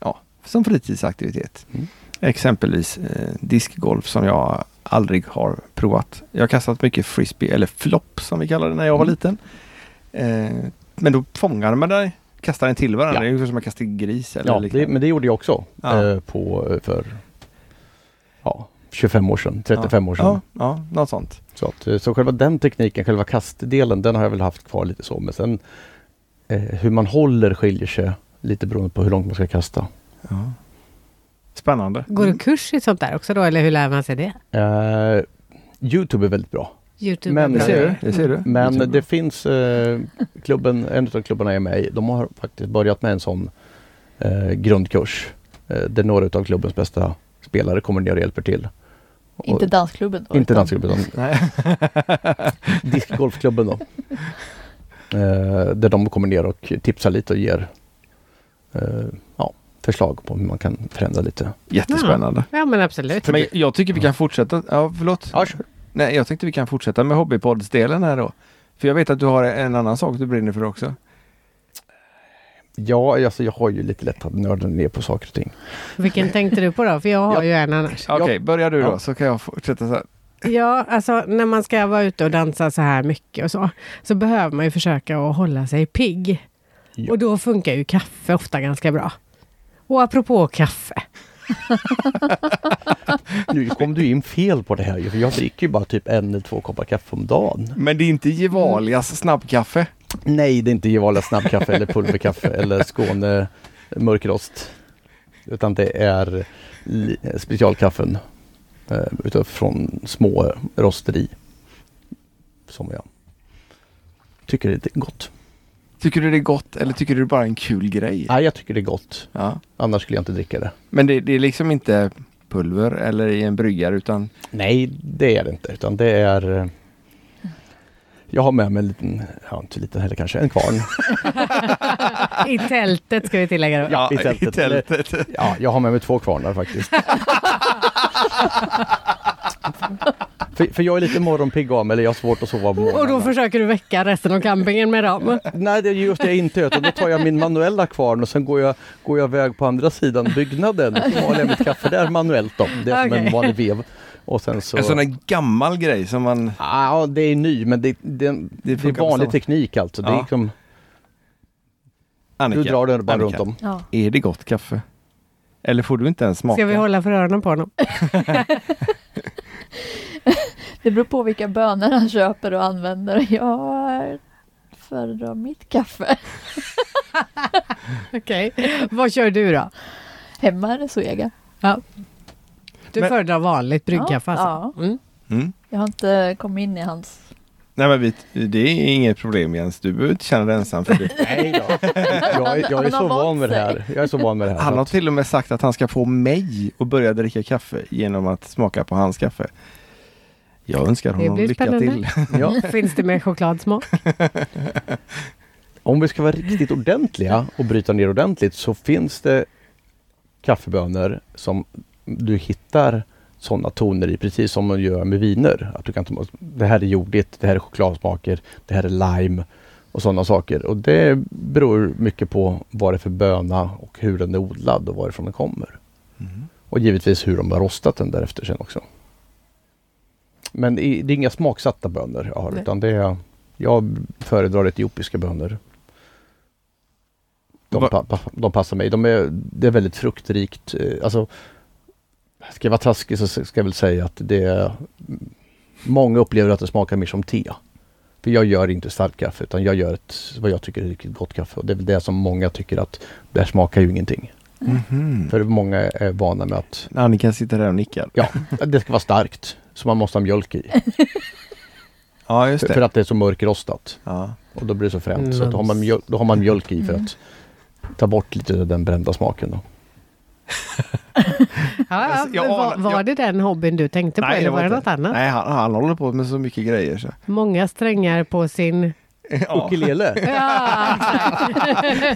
Speaker 1: ja, som fritidsaktivitet.
Speaker 4: Mm.
Speaker 1: Exempelvis eh, diskgolf som jag aldrig har provat. Jag har kastat mycket frisbee, eller flopp som vi kallade det när jag var
Speaker 4: Mm.
Speaker 1: liten. Eh, men då fångar man dig kastar den till varandra.
Speaker 4: Ja.
Speaker 1: Det är ungefär som man kastar gris eller
Speaker 4: Ja, det,
Speaker 1: liknande.
Speaker 4: men det gjorde jag också.
Speaker 1: Ja.
Speaker 4: Eh, på, eh, för ja, 25 år sedan, 35 år sedan.
Speaker 1: ja, ja, något sånt.
Speaker 4: Så, att, eh, så själva den tekniken, själva kastdelen, den har jag väl haft kvar lite så. Men sen eh, hur man håller skiljer sig lite beroende på hur långt man ska kasta.
Speaker 1: Spännande.
Speaker 2: Går
Speaker 4: Mm.
Speaker 2: du kurs i sånt där också då, eller hur lär man sig det?
Speaker 4: Eh, Youtube är väldigt bra.
Speaker 2: Youtube?
Speaker 4: Men-
Speaker 2: är
Speaker 1: Det
Speaker 2: bra.
Speaker 1: ser du. Det ser du.
Speaker 4: Men
Speaker 1: Youtube.
Speaker 4: det finns eh, klubben, en av klubbarna jag är med i, de har faktiskt börjat med en sån eh, grundkurs. Eh, där några av klubbens bästa spelare kommer ner och hjälper till. Och-
Speaker 3: Inte dansklubben. då,
Speaker 4: inte
Speaker 3: utan-
Speaker 4: dansklubben, utan
Speaker 1: Nej.
Speaker 4: diskgolfklubben då. Eh, där de kommer ner och tipsar lite och ger eh, ja, förslag på hur man kan förändra lite.
Speaker 1: Jättespännande.
Speaker 2: Ja, men absolut.
Speaker 1: Men jag tycker vi kan fortsätta. Ja, förlåt.
Speaker 4: Ja, sure.
Speaker 1: Nej, jag tänkte vi kan fortsätta med hobbypoddsdelen här då. För jag vet att du har en annan sak du brinner för också.
Speaker 4: Ja, alltså jag har ju lite lätt att nörda ner på saker och ting.
Speaker 2: Vilken tänkte du på då? För jag har
Speaker 4: Ja.
Speaker 2: ju en annars.
Speaker 1: Okej, börja du då
Speaker 4: Ja.
Speaker 1: så kan jag fortsätta så här.
Speaker 2: Ja, alltså när man ska vara ute och dansa så här mycket och så, så behöver man ju försöka att hålla sig pigg.
Speaker 4: Ja.
Speaker 2: Och då funkar ju kaffe ofta ganska bra. Och apropå kaffe.
Speaker 4: Nu kom du in fel på det här ju, för jag dricker ju bara typ en eller två koppar kaffe om dagen.
Speaker 1: Men det är inte Gevalias snabbkaffe.
Speaker 4: Nej, det är inte Gevalia snabbkaffe eller pulverkaffe eller Skåne mörkrost. Utan det är li- specialkaffen eh, utifrån små rosteri. Som jag tycker det är gott.
Speaker 1: Tycker du det är gott eller tycker du det är bara en kul grej?
Speaker 4: Nej, jag tycker det är gott.
Speaker 1: Ja.
Speaker 4: Annars skulle jag inte dricka det.
Speaker 1: Men det, det är liksom inte pulver eller i en bryggare utan
Speaker 4: Nej, det är det inte. Utan det är... eh, Jag har med mig en liten, ja inte liten heller kanske, en kvarn.
Speaker 2: I tältet ska vi tillägga då.
Speaker 4: i tältet. Ja, jag har med mig två kvarnar faktiskt. för, för jag är lite morgonpigg av mig, eller jag har svårt att sova på
Speaker 2: Och då
Speaker 4: morgonen.
Speaker 2: försöker du väcka resten av campingen med dem.
Speaker 4: Nej, det är just det jag inte gör, utan då tar jag min manuella kvarn och sen går jag, går jag iväg på andra sidan byggnaden. Så maler jag mitt kaffe där manuellt då. Det är som
Speaker 2: Okej.
Speaker 4: en vanlig vev. Och sen så...
Speaker 1: En sån där gammal grej som man...
Speaker 4: Ja, det är ny, men det, det, det, är
Speaker 1: funkar på
Speaker 4: vanlig
Speaker 1: samma-
Speaker 4: teknik alltså. Det
Speaker 1: Ja.
Speaker 4: är liksom,
Speaker 1: Annika,
Speaker 4: du drar den bara
Speaker 1: Annika,
Speaker 4: runt om.
Speaker 3: Ja.
Speaker 1: Är det gott kaffe? Eller får du inte ens smaka?
Speaker 2: Ska vi hålla för öronen på honom?
Speaker 3: Det beror på vilka bönor han köper och använder. Jag föredrar mitt kaffe.
Speaker 2: Okej. Vad kör du då?
Speaker 3: Hemma är det Zoega.
Speaker 2: Du
Speaker 1: Men-
Speaker 2: föredrar vanligt bryggkaffe
Speaker 3: Ja,
Speaker 2: alltså? Mm.
Speaker 1: Mm.
Speaker 3: Jag har inte kommit in i hans...
Speaker 1: Nej men vi, det är inget problem Jens, du behöver inte känna dig ensam för det.
Speaker 4: Nej då. Jag, är- jag är
Speaker 3: Han
Speaker 4: så
Speaker 3: har
Speaker 4: van
Speaker 3: vant
Speaker 4: med det här. Jag är så van med det här.
Speaker 1: Han
Speaker 4: så
Speaker 1: har
Speaker 4: att-
Speaker 1: till och med sagt att han ska få mig att börja dricka kaffe genom att smaka på hans kaffe. Jag önskar
Speaker 2: Det
Speaker 1: honom
Speaker 2: blir
Speaker 1: lycka
Speaker 2: spännande.
Speaker 1: till.
Speaker 4: ja.
Speaker 2: Finns det med chokladsmak?
Speaker 4: Om vi ska vara riktigt ordentliga och bryta ner ordentligt så finns det kaffebönor som du hittar sådana toner i, precis som man gör med viner. Att du kan ta, det här är jordigt, det här är chokladsmaker, det här är lime och sådana saker. Och det beror mycket på vad det är för böna och hur den är odlad och varifrån den kommer.
Speaker 1: Mm.
Speaker 4: Och givetvis hur de har rostat den därefter sen också. Men i- det är inga smaksatta bönor jag har,
Speaker 2: Nej.
Speaker 4: utan det är, jag föredrar etiopiska bönor. De,
Speaker 1: Va-
Speaker 4: pa, pa, de passar mig. De är, det är väldigt fruktrikt. eh, Alltså, ska jag vara taskig så ska jag väl säga att det är... Många upplever att det smakar mer som te. För jag gör inte starkt kaffe utan jag gör ett, vad jag tycker är riktigt gott kaffe. Och det är väl det som många tycker att det här smakar ju ingenting.
Speaker 2: Mm.
Speaker 1: Mhm.
Speaker 4: För många är vana med att
Speaker 1: Annika sitter där och nickar.
Speaker 4: ja, det ska vara starkt. Så man måste ha mjölk i.
Speaker 1: Ja just
Speaker 4: För, för
Speaker 1: det.
Speaker 4: att det är så mörkrostat.
Speaker 1: Ja.
Speaker 4: Och då blir det så fränt. Så
Speaker 2: Mm.
Speaker 4: då har, man mjölk, då har man mjölk i för
Speaker 1: Mm.
Speaker 4: att ta bort lite av den brända smaken. Då.
Speaker 2: Ja, ja,
Speaker 1: Alltså, Jag
Speaker 2: men var,
Speaker 1: anar-
Speaker 2: var
Speaker 1: jag-
Speaker 2: det den hobbyn du tänkte på eller var det
Speaker 1: inte-
Speaker 2: något annat?
Speaker 1: Nej, han, han håller på med så mycket grejer. Så.
Speaker 2: Många strängar på sin...
Speaker 1: Ja.
Speaker 4: Ukulele.
Speaker 2: Ja,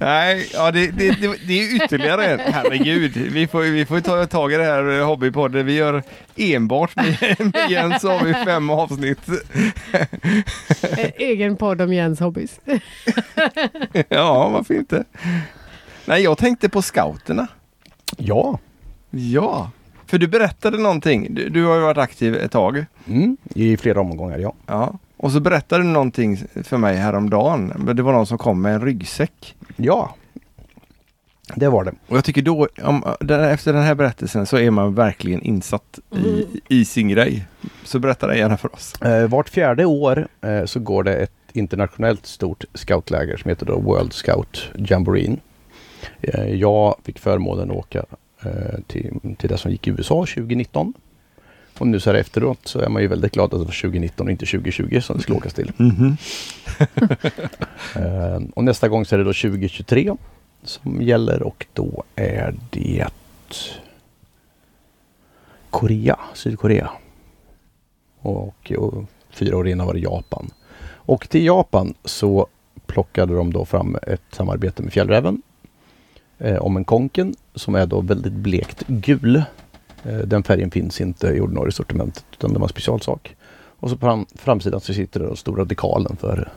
Speaker 1: Nej, ja, det, det, det, det är ytterligare en. Herregud, vi får, vi får ta tag i det här eh, hobbypodden. Vi gör enbart med, med Jens har vi fem avsnitt.
Speaker 2: eh, egen podd om Jens hobbys.
Speaker 1: Ja, varför inte? Nej, jag tänkte på scouterna.
Speaker 4: Ja.
Speaker 1: Ja, för du berättade någonting. Du, du har ju varit aktiv ett tag.
Speaker 4: Mm. I flera omgångar, ja.
Speaker 1: Ja. Och så berättade du någonting för mig häromdagen. Men Det var någon som kom med en ryggsäck.
Speaker 4: Ja. Det var det.
Speaker 1: Och jag tycker då, om, där, efter den här berättelsen så är man verkligen insatt
Speaker 4: Mm.
Speaker 1: i, i sin grej. Så berätta det gärna för oss.
Speaker 4: Eh, vart fjärde år eh, så går det ett internationellt stort scoutläger som heter då World Scout Jamboreen. Eh, jag fick förmånen att åka eh, till, till det som gick i USA 2019. Och nu så här efteråt så är man ju väldigt glad att det var 2019 och inte 2020 som det skulle åkas till. Eh, och nästa gång så är det då 2023 som gäller och då är det Korea, Sydkorea. Och, och fyra år innan var det Japan. Och till Japan så plockade de då fram ett samarbete med Fjällräven eh, om en konken som är då väldigt blekt gul. Eh, den färgen finns inte i ordinarie sortimentet utan det var en specialsak. Och så på fram, framsidan så sitter den stora dekalen för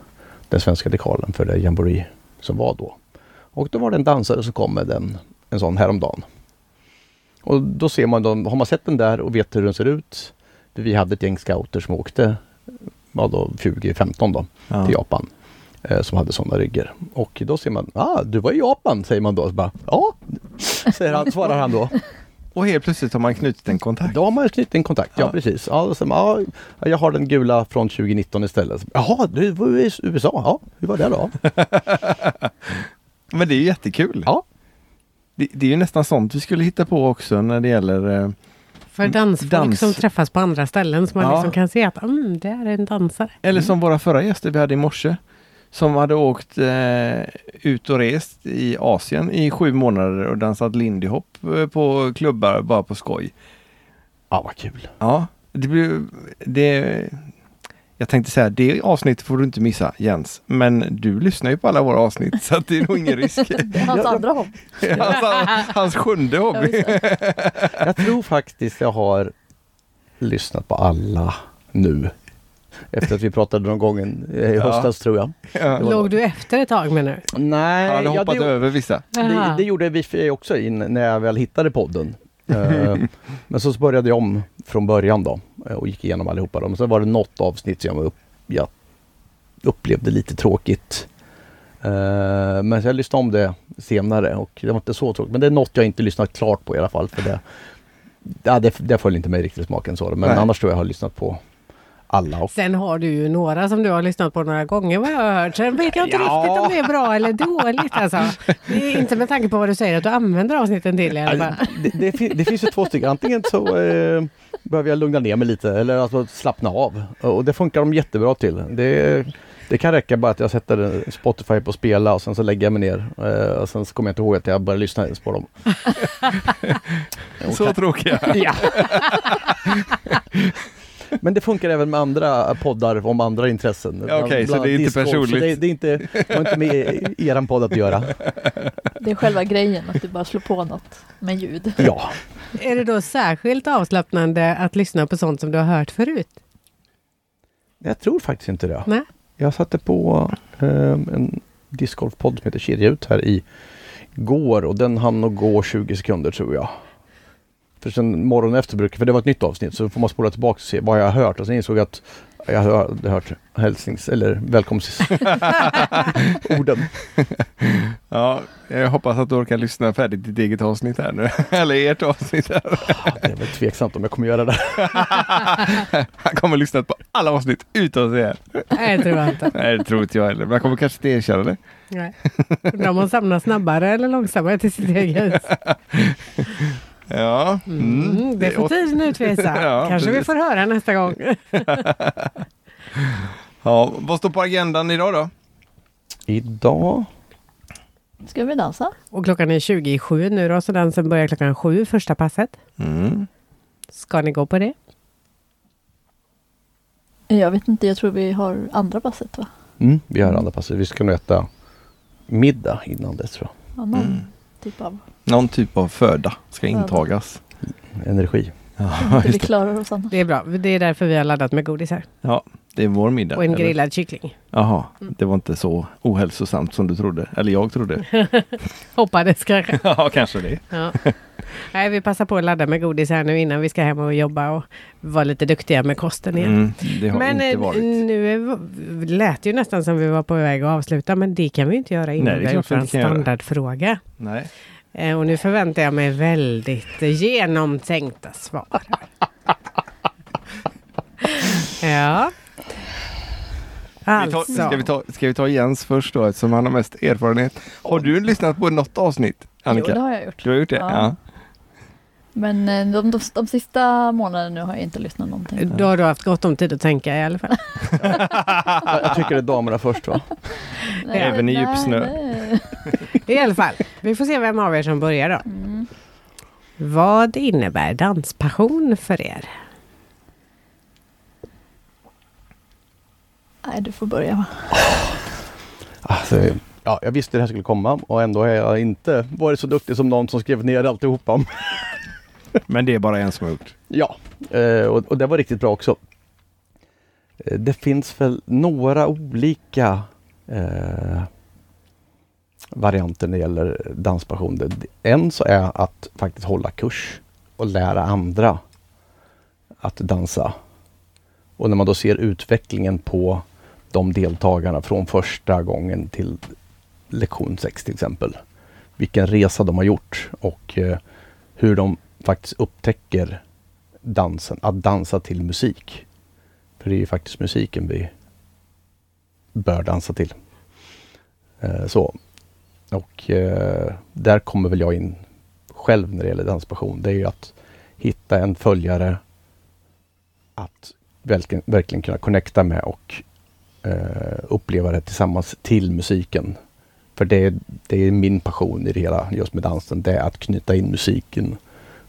Speaker 4: den svenska dekalen för det jamboree som var då. Och då var det en dansare som kom med den, en sån häromdagen. Och då ser man, dem- har man sett den där och vet hur den ser ut. För vi hade ett gäng scouter som åkte, vad då, 2015 då,
Speaker 1: Ja.
Speaker 4: till Japan. Eh, som hade sådana ryggar. Och då ser man, ah, du var i Japan, säger man då. Så bara, ja, säger han, svarar han då.
Speaker 1: Och helt plötsligt har man knutit en kontakt.
Speaker 4: Då har man ju knutit en kontakt, ja,
Speaker 1: Ja.
Speaker 4: precis. Ja, då säger man, ja, jag har den gula från 2019 istället. Så, Jaha, du var i USA? Ja, hur var det då?
Speaker 1: Men det är ju jättekul.
Speaker 4: Ja.
Speaker 1: Det, det är ju nästan sånt vi skulle hitta på också när det gäller eh,
Speaker 2: För
Speaker 4: Mm,
Speaker 2: dansfolk
Speaker 1: dans.
Speaker 2: som träffas på andra ställen som man
Speaker 1: Ja.
Speaker 2: liksom kan se att mm, det är en dansare.
Speaker 4: Mm.
Speaker 1: Eller som våra förra gäster vi hade i morse. Som hade åkt eh, ut och rest i Asien i sju månader och dansat lindy hop eh, på klubbar bara på skoj.
Speaker 4: Ja, vad kul.
Speaker 1: Ja, det blir... Det, jag tänkte säga, det avsnittet får du inte missa Jens. Men du lyssnar ju på alla våra avsnitt så att det är nog ingen risk.
Speaker 3: Det är hans
Speaker 4: Ja.
Speaker 3: andra hopp.
Speaker 1: hans, hans sjunde
Speaker 3: Ja, just
Speaker 1: hobby.
Speaker 3: det.
Speaker 4: Jag tror faktiskt jag har lyssnat på alla nu. Efter att vi pratade någon gång i
Speaker 1: Ja.
Speaker 4: höstas tror jag.
Speaker 1: Ja.
Speaker 4: var-
Speaker 2: Låg du efter ett tag med nu?
Speaker 4: Nej,
Speaker 1: Han hade
Speaker 4: ja,
Speaker 1: hoppat
Speaker 4: det,
Speaker 1: över vissa.
Speaker 4: det,
Speaker 2: Aha.
Speaker 4: det gjorde vi för- också in när jag väl hittade podden. Eh, Men så började jag om från början då eh, och gick igenom allihopa. Dem. Så var det något avsnitt som jag, var upp, jag upplevde lite tråkigt. Eh, Men så jag lyssnade om det senare och det var inte så tråkigt. Men det är något jag inte lyssnat klart på i alla fall. För det, ja, det, det följer inte mig riktigt smaken så. Men
Speaker 1: Nej.
Speaker 4: annars tror jag jag har lyssnat på alla. Och,
Speaker 2: Sen har du ju några som du har lyssnat på några gånger vad jag har hört. Sen vet jag inte
Speaker 4: Ja.
Speaker 2: riktigt om det är bra eller dåligt alltså. Det är inte med tanke på vad du säger att du använder avsnitten till i alla fall.
Speaker 4: det, det, fin- det finns ju två stycken. Antingen så eh, behöver jag lugna ner mig lite eller alltså slappna av. Och det funkar de jättebra till. Det, det kan räcka bara att jag sätter Spotify på spela och sen så lägger jag mig ner. Eh, och sen så kommer jag inte ihåg att jag börjar lyssna ens på dem.
Speaker 1: Så tråkiga.
Speaker 4: Ja. Men det funkar även med andra eh, poddar om andra intressen. Bland-
Speaker 1: okej, så
Speaker 4: bland
Speaker 1: det är inte
Speaker 4: discgolf. Så
Speaker 1: personligt.
Speaker 4: Det, det, är inte, det har inte med i- i eran podd att göra.
Speaker 3: Det är själva grejen, att du bara slår på något med ljud.
Speaker 4: Ja,
Speaker 2: Är det då särskilt avslappnande att lyssna på sånt som du har hört förut?
Speaker 4: jag tror faktiskt inte det.
Speaker 2: Nej?
Speaker 4: Jag satte på eh, en discgolfpodd som heter Kedja ut här i går och den hann nog gå 20 sekunder tror jag. För sen morgonen efter brukar, för det var ett nytt avsnitt, så får man spola tillbaka och se vad jag har hört och sen insåg jag att jag hade hört hälsnings eller välkomstorden.
Speaker 1: Ja, jag hoppas att du orkar lyssna färdigt ditt eget avsnitt här nu. Eller ert avsnitt här.
Speaker 4: Det är väl tveksamt om jag kommer göra det.
Speaker 1: Han kommer lyssna på alla avsnitt utan att säga.
Speaker 2: Nej, det tror jag inte.
Speaker 1: Nej, det tror inte jag heller. Men han kommer kanske inte erkänna det.
Speaker 2: Nej. Undrar om hon samlar snabbare eller långsammare till sitt eget hus.
Speaker 1: Ja.
Speaker 2: Mm, det får tiden utvisa.
Speaker 1: Ja,
Speaker 2: Kanske vi
Speaker 1: precis.
Speaker 2: får höra nästa gång.
Speaker 1: Ja, vad står på agendan idag då?
Speaker 4: Idag
Speaker 3: Ska vi dansa?
Speaker 2: Och klockan är 20 i sju nu då, så dansen börjar klockan sju, första passet.
Speaker 1: Mm.
Speaker 2: Ska ni gå på det?
Speaker 3: Jag vet inte, jag tror vi har andra passet va?
Speaker 4: Mm, vi har andra passet. Vi ska nog äta middag innan dess tror
Speaker 3: Ja, någon typ av...
Speaker 1: Någon typ av föda ska intagas.
Speaker 4: jag. Energi.
Speaker 3: Jag vet inte, vi klarar oss annars.
Speaker 2: Det är bra. Det är därför vi har laddat med godis här.
Speaker 1: Ja, det är vår middag.
Speaker 2: Och en
Speaker 1: eller?
Speaker 2: grillad Mm. kyckling.
Speaker 1: Jaha, det var inte så ohälsosamt som du trodde. Eller jag trodde.
Speaker 2: Hoppades kanske.
Speaker 1: ja, kanske det.
Speaker 2: Ja. Nej, vi passar på att ladda med godis här nu innan vi ska hem och jobba och vara lite duktiga med kosten igen.
Speaker 1: Mm, det har
Speaker 2: Men
Speaker 1: inte
Speaker 2: eh,
Speaker 1: varit.
Speaker 2: nu är, lät ju nästan som vi var på väg att avsluta, men det kan vi inte göra
Speaker 1: Nej,
Speaker 2: innan
Speaker 1: det
Speaker 2: vi har
Speaker 1: är
Speaker 2: gjort
Speaker 1: klart vi
Speaker 2: en
Speaker 1: inte kan göra.
Speaker 2: standardfråga.
Speaker 1: Nej.
Speaker 2: Eh, Och nu förväntar jag mig väldigt eh, genomtänkta svar. ja.
Speaker 1: Vi tar,
Speaker 2: Alltså.
Speaker 1: ska, vi ta, ska vi ta Jens först då eftersom han har mest erfarenhet. Har du lyssnat på något avsnitt
Speaker 3: Jo,
Speaker 1: Annika?
Speaker 3: det har jag gjort.
Speaker 1: Du har gjort det?
Speaker 3: Ja.
Speaker 1: Ja.
Speaker 3: Men eh, de, de, de sista månaderna nu har jag inte lyssnat någonting.
Speaker 2: Då har du haft gott om tid att tänka i alla fall.
Speaker 4: Jag, jag tycker det är damerna först va?
Speaker 3: Nej,
Speaker 1: Även i
Speaker 3: nej,
Speaker 1: djupsnö.
Speaker 3: Eh, nej.
Speaker 2: I alla fall, vi får se vem av er som börjar då.
Speaker 3: Mm.
Speaker 2: Vad innebär danspassion för er?
Speaker 3: Nej, du får börja va?
Speaker 4: Alltså, ja, jag visste det här skulle komma och ändå har jag inte varit så duktig som någon som skrev ner alltihopa.
Speaker 1: Men det är bara en som har gjort.
Speaker 4: Ja, eh, och, och det var riktigt bra också. Eh, Det finns väl några olika eh, varianten när det gäller danspassion. Det- En så är att faktiskt hålla kurs och lära andra att dansa. Och när man då ser utvecklingen på de deltagarna från första gången till lektion 6 till exempel. Vilken resa de har gjort och eh, hur de faktiskt upptäcker dansen, att dansa till musik. För det är ju faktiskt musiken vi bör dansa till. Eh, så. Och eh, där kommer väl jag in själv när det gäller danspassion. Det är ju att hitta en följare att verkligen, verkligen kunna connecta med och eh, uppleva det tillsammans till musiken. För det är, det är min passion i det hela, just med dansen, det är att knyta in musiken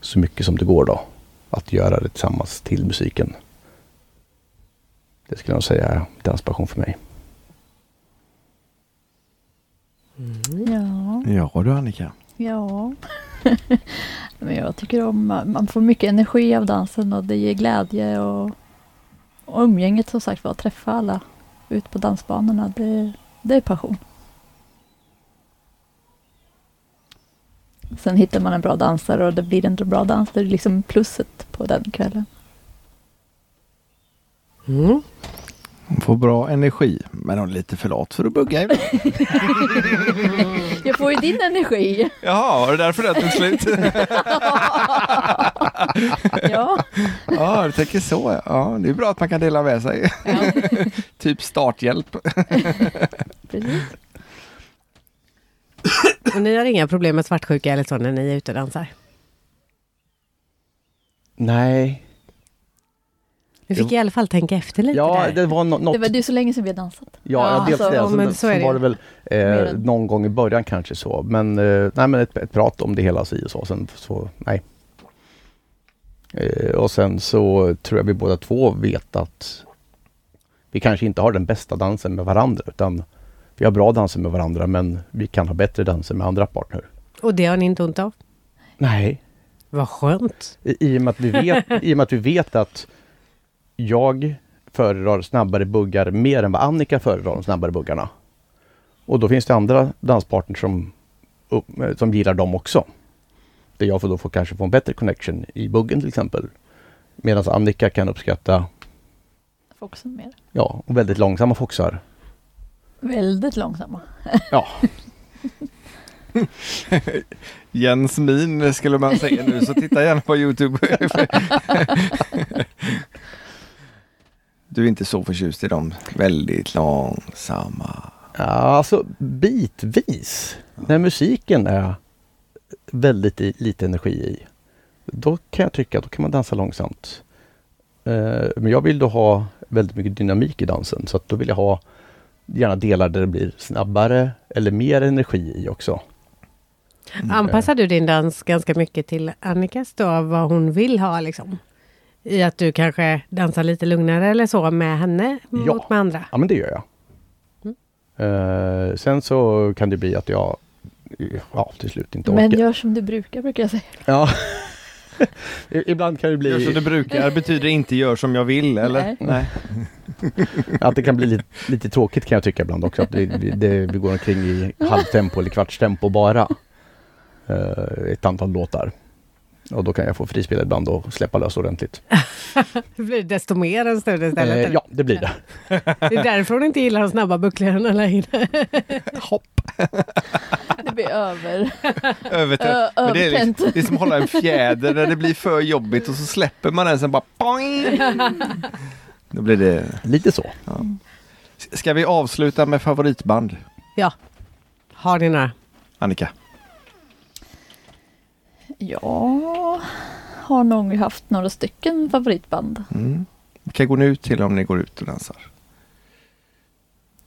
Speaker 4: så mycket som det går då. Att göra det tillsammans till musiken. Det skulle jag nog säga är danspassion för mig.
Speaker 3: Ja.
Speaker 1: Ja du Annika.
Speaker 3: Ja. Men jag tycker om, man får mycket energi av dansen och det ger glädje och, och umgänget som sagt var, att träffa alla ut på dansbanorna, det, det är passion. Sen hittar man en bra dansare och det blir en bra dans, det är liksom plusset på den kvällen.
Speaker 2: Mm.
Speaker 1: Hon får bra energi men hon är lite för lat för att bugga. ibland.
Speaker 3: Jag får ju din energi!
Speaker 1: Jaha, var det därför det tog slut?
Speaker 3: ja.
Speaker 1: ja, du tänker så. ja. Ja, det är bra att man kan dela med sig.
Speaker 3: ja,
Speaker 1: typ starthjälp.
Speaker 3: precis.
Speaker 2: Och ni har inga problem med svartsjuka eller så när ni är ute och dansar?
Speaker 4: Nej.
Speaker 2: Du fick i alla fall tänka efter lite
Speaker 4: Ja,
Speaker 2: där.
Speaker 4: det var no- något.
Speaker 3: Det var du så länge sedan vi har dansat.
Speaker 4: Ja,
Speaker 3: Ja,
Speaker 4: ja, dels
Speaker 3: alltså,
Speaker 2: ja,
Speaker 4: det. Sen,
Speaker 2: men så är
Speaker 4: sen
Speaker 2: det
Speaker 4: var det väl
Speaker 3: Mer
Speaker 4: eh,
Speaker 3: än-
Speaker 4: någon gång i början kanske så. Men, eh, nej, men ett, ett prat om det hela si och så. Sen så, nej. Eh, och sen så tror jag vi båda två vet att vi kanske inte har den bästa dansen med varandra. Utan vi har bra danser med varandra men vi kan ha bättre danser med andra partner.
Speaker 2: Och det har ni inte ont av?
Speaker 4: Nej,
Speaker 2: Vad skönt.
Speaker 4: I, i, och med att vi vet, I och med att vi vet att jag föredrar snabbare buggar mer än vad Annika föredrar de snabbare buggarna. Och då finns det andra danspartner som, upp- eh, som gillar dem också. Där jag får då får kanske få en bättre connection i buggen till exempel. Medan Annika kan uppskatta
Speaker 3: Foxen mer.
Speaker 4: ja, väldigt långsamma foxar.
Speaker 3: Väldigt långsamma.
Speaker 4: Ja,
Speaker 1: Jens min skulle man säga nu, så titta gärna på Youtube. du är inte så förtjust i dem väldigt långsamma.
Speaker 4: Ja, alltså bitvis. När musiken är väldigt i, lite energi i. Då kan jag tycka att då kan man dansa långsamt. Eh, men jag vill då ha väldigt mycket dynamik i dansen. Så att då vill jag ha gärna delar där det blir snabbare eller mer energi i också. Mm.
Speaker 2: Anpassar du din dans ganska mycket till Annikas då, vad hon vill ha liksom? I att du kanske dansar lite lugnare eller så med henne mot med andra?
Speaker 4: Ja, men det gör jag. Eh, sen så kan det bli att jag ja, till slut inte
Speaker 3: Men
Speaker 4: orkar.
Speaker 3: gör som du brukar, brukar jag säga.
Speaker 4: Ja. I- Ibland kan det bli...
Speaker 1: Gör som du brukar betyder inte gör som jag vill, eller?
Speaker 3: Nej.
Speaker 4: Att det kan bli lite, lite tråkigt kan jag tycka ibland också. Att vi, vi, det, vi går omkring i halvtempo eller kvartstempo bara. eh, ett antal låtar. Och då kan jag få frispel ibland och släppa lös ordentligt.
Speaker 2: Det blir desto mer en stund istället.
Speaker 4: Eh,
Speaker 2: eller?
Speaker 4: ja, det blir det.
Speaker 2: Det är därför hon inte gillar de snabba bucklorna längre.
Speaker 1: Hopp,
Speaker 3: Det blir över.
Speaker 1: övertänt.
Speaker 3: Ö,
Speaker 1: Men det, är
Speaker 3: övertänt.
Speaker 1: liksom, det är som att hålla en fjäder när det blir för jobbigt och så släpper man den sen bara poing! Då blir det...
Speaker 4: Lite så.
Speaker 1: Ska vi avsluta med favoritband,
Speaker 2: Ja. Har ni några?
Speaker 1: Annika?
Speaker 3: Jag har nog haft några stycken favoritband.
Speaker 1: Mm. Vilka går ni ut till om ni går ut och dansar?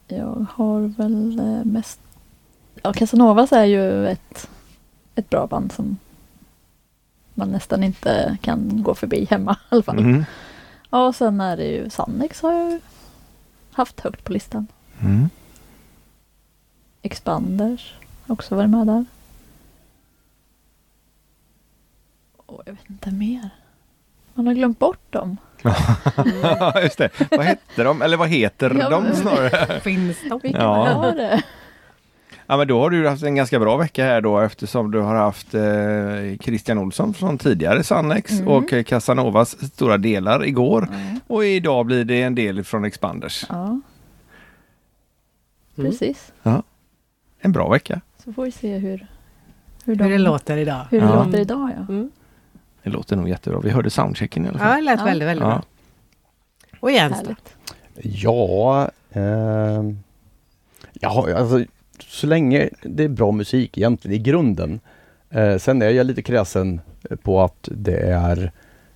Speaker 3: Jag har väl eh, mest... Ja, Casanovas är ju ett, ett bra band som man nästan inte kan gå förbi hemma i alla fall.
Speaker 1: Mm.
Speaker 3: Ja, och sen är det ju Sannex har jag haft högt på listan.
Speaker 1: Mm.
Speaker 3: Expanders har också varit med där. Och jag vet inte mer. Man har glömt bort dem.
Speaker 1: Ja, just det. Vad hette de? Eller vad heter
Speaker 3: Ja,
Speaker 1: de
Speaker 3: men-
Speaker 1: snarare?
Speaker 2: Finns de?
Speaker 3: Vilka
Speaker 1: Ja.
Speaker 3: var det?
Speaker 1: Ja, men då har du haft en ganska bra vecka här då eftersom du har haft eh, Christian Olsson från tidigare Sannex
Speaker 3: Mm.
Speaker 1: och eh, Casanovas stora delar igår.
Speaker 3: Ja,
Speaker 1: Och idag blir det en del från Expanders.
Speaker 3: ja
Speaker 2: Mm.
Speaker 3: precis.
Speaker 1: En bra vecka.
Speaker 3: Så får vi se hur, hur, de,
Speaker 2: Hur det låter idag.
Speaker 3: hur det
Speaker 1: Ja.
Speaker 3: låter idag. Ja.
Speaker 2: Mm.
Speaker 1: Det låter nog jättebra. Vi hörde soundchecken i alla
Speaker 2: Ja,
Speaker 1: fall.
Speaker 2: det lät
Speaker 3: Ja.
Speaker 2: väldigt, väldigt bra. Och Jens då?
Speaker 3: Härligt.
Speaker 4: Ja, ehm, ja alltså, så länge det är bra musik egentligen i grunden. Eh, sen är jag lite kräsen på att det är,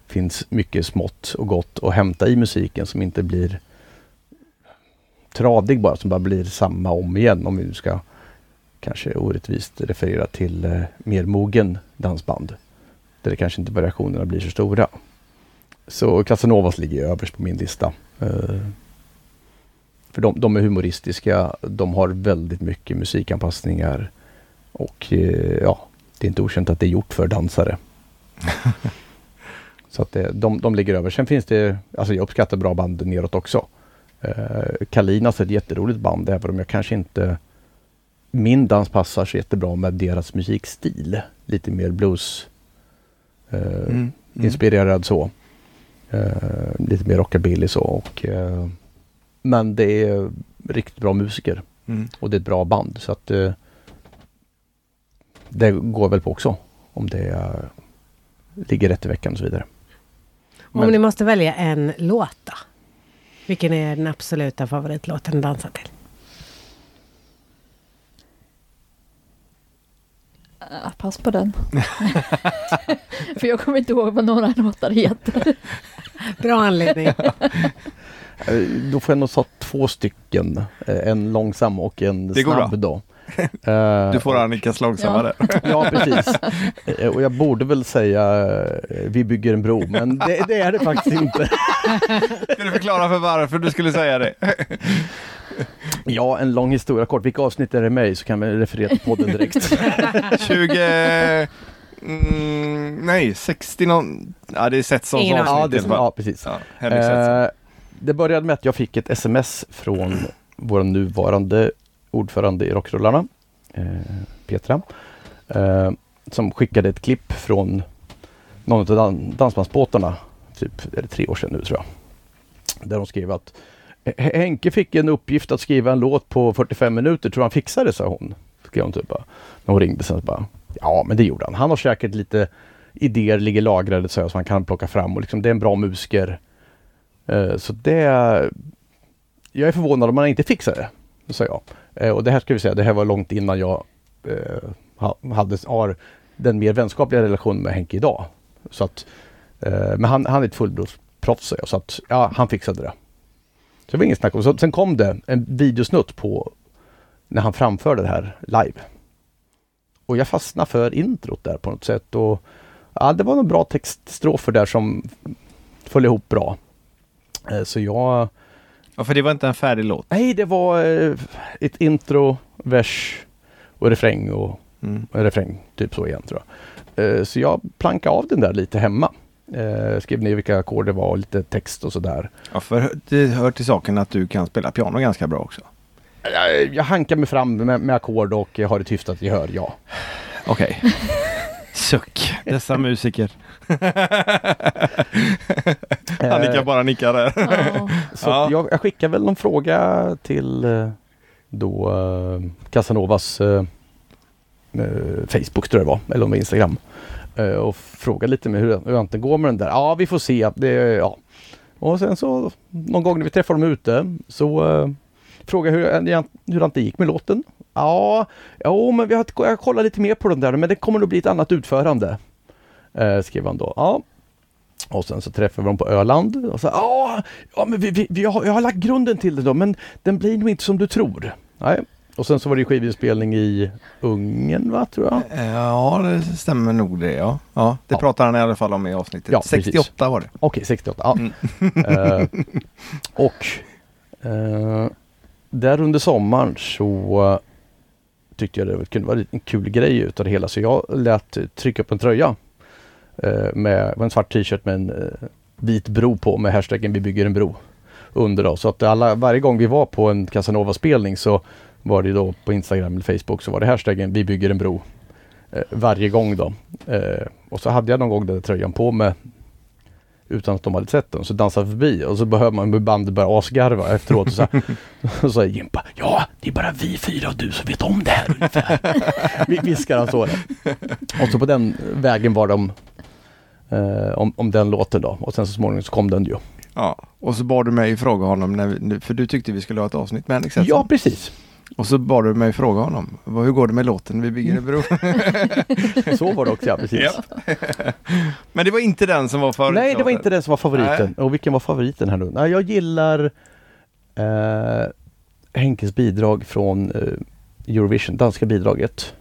Speaker 4: finns mycket smått och gott att hämta i musiken som inte blir tradig bara, som bara blir samma om igen om vi nu ska kanske orättvist referera till eh, mer mogen dansband. Där det kanske inte variationerna blir så stora. Så Casanovas ligger överst på min lista. Eh, för de, de är humoristiska, de har väldigt mycket musikanpassningar och eh, ja, det är inte okänt att det är gjort för dansare. Så att det, de, de ligger över. Sen finns det, alltså jag uppskattar bra band neråt också. Eh, Kalinas är ett jätteroligt band även om jag kanske inte min dans passar så jättebra med deras musikstil. Lite mer blues eh,
Speaker 1: Mm. Mm.
Speaker 4: inspirerad så. Eh, lite mer rockabilly så. Och, eh, men det är riktigt bra musiker
Speaker 1: Mm.
Speaker 4: och det är ett bra band. Så att eh, det går väl på också om det eh, ligger rätt i veckan och så vidare.
Speaker 2: Om
Speaker 4: Men-
Speaker 2: ni måste välja en låt då? Vilken är den absoluta favoritlåten att dansa till?
Speaker 3: Ja, pass på den. För jag kommer inte ihåg vad några låtar heter.
Speaker 2: Bra anledning.
Speaker 4: Eh, Då får jag nog ta två stycken. Eh, En långsam och en
Speaker 1: Det går
Speaker 4: snabb då. Eh,
Speaker 1: Du får Annikas långsamma
Speaker 3: Ja.
Speaker 1: där.
Speaker 4: Ja, precis. Eh, Och jag borde väl säga eh, Vi bygger en bro, men det, det är det faktiskt inte.
Speaker 1: Ska du förklara för varför du skulle säga det?
Speaker 4: Ja, en lång historia kort. Vilka avsnitt är det med i så kan vi referera till podden direkt.
Speaker 1: 20... Mm, nej, 60 någon... Ja, det är Setsons
Speaker 2: Ingen aning.
Speaker 1: avsnitt.
Speaker 4: ja, det,
Speaker 1: i alla fall.
Speaker 4: ja, precis.
Speaker 1: Ja, Henrik Setsson.
Speaker 4: Eh, det började med att jag fick ett sms från vår nuvarande ordförande i Rockrullarna, eh, Petra, eh, som skickade ett klipp från någon av dan- dansbandsbåtarna, typ är det tre år sedan nu tror jag, där hon skrev att "H- Henke fick en uppgift att skriva en låt på 45 minuter, tror han fixar det, sa hon. Skrev hon typ bara. När hon ringde sen så bara, ja men det gjorde han. Han har säkert lite idéer ligger lagrade så här, som han kan plocka fram och liksom, det är en bra musiker. Eh, Så det... Jag är förvånad om man inte fixar det, sa jag. Eh, Och det här ska vi säga, det här var långt innan jag eh, ha- hade, har den mer vänskapliga relationen med Henke idag. Så att, eh, men han, han är ett fullblodsproffs, sa jag, så att ja, han fixade det. Så det var inget snack om. Så, sen kom det en videosnutt på när han framförde det här live. Och jag fastnade för introt där på något sätt. Och, ja, det var några bra textstrofer där som föll ihop bra. Eh, Så jag...
Speaker 1: Ja, för det var inte en färdig låt.
Speaker 4: Nej, det var eh, ett intro, vers och refräng och
Speaker 1: Mm.
Speaker 4: en refräng, typ så igen tror jag. Eh, Så jag plankade av den där lite hemma. Eh, Skrev ner vilka ackord det var och lite text och sådär.
Speaker 1: Ja, för det hör till saken att du kan spela piano ganska bra också.
Speaker 4: Eh, Jag, jag hankar mig fram med, med ackord och jag har ett hyfsat gehör, ja.
Speaker 1: Okej. Suck, dessa musiker. Annika
Speaker 4: Eh,
Speaker 1: bara nickar där.
Speaker 3: Ja.
Speaker 4: Så
Speaker 1: Ja.
Speaker 4: att jag, jag skickar väl någon fråga till eh, då eh, Casanovas eh, eh, Facebook tror jag det var, eller om det var Instagram. Eh, och frågade lite med hur, hur han går med den där. Ja, vi får se. Det, ja. Och sen så någon gång när vi träffar dem ute så eh, frågar jag hur, eh, hur han det gick med låten. Ja, jo, men vi har, jag kollar lite mer på den där, men det kommer nog bli ett annat utförande. Eh, skrev han då. Ja, och sen så träffade vi dem på Öland och sa "Ah, ja, men vi, vi, vi har, jag har lagt grunden till det då, men den blir nog inte som du tror. Nej. Och sen så var det ju skivinspelning i Ungern, va, tror jag?
Speaker 1: Eh, Ja, det stämmer nog det. Ja, ja det
Speaker 4: Ja.
Speaker 1: pratar han i alla fall om i avsnittet.
Speaker 4: Ja, precis.
Speaker 1: 68 var det.
Speaker 4: Okej, 68. Ja.
Speaker 1: Mm.
Speaker 4: Eh, och eh, där under sommaren så eh, tyckte jag det kunde vara en kul grej utav det hela, så jag lät trycka upp en tröja eh, med med en svart t-shirt med en eh, vit bro på med hashtaggen vi bygger en bro under då. Så att alla, varje gång vi var på en Casanova-spelning så var det då på Instagram eller Facebook så var det hashtaggen vi bygger en bro. Eh, varje gång då. Eh, och så hade jag någon gång den där tröjan på mig utan att de hade sett den. Så dansade jag förbi och så behöver man bandet börja asgarva efteråt. Och så här, och så här, Jimpa, ja det är bara vi fyra och du som vet om det här ungefär. Vi- Viskar han så. då. Och så på den vägen var de eh, om, om den låten då. Och sen så småningom så kom den ju.
Speaker 1: Ja, och så bad du mig fråga honom, när vi, för du tyckte vi skulle ha ett avsnitt med Henrik Setsson.
Speaker 4: Ja precis,
Speaker 1: Och så bad du mig fråga honom, vad- hur går det med låten Vi bygger en bro?
Speaker 4: så var det också. Ja, precis.
Speaker 1: Ja. Men det var inte den som var favoritlåten?
Speaker 4: Nej, det var inte den som var favoriten. Och vilken var favoriten här nu? Nej, jag gillar eh, Henkes bidrag från eh, Eurovision, danska bidraget.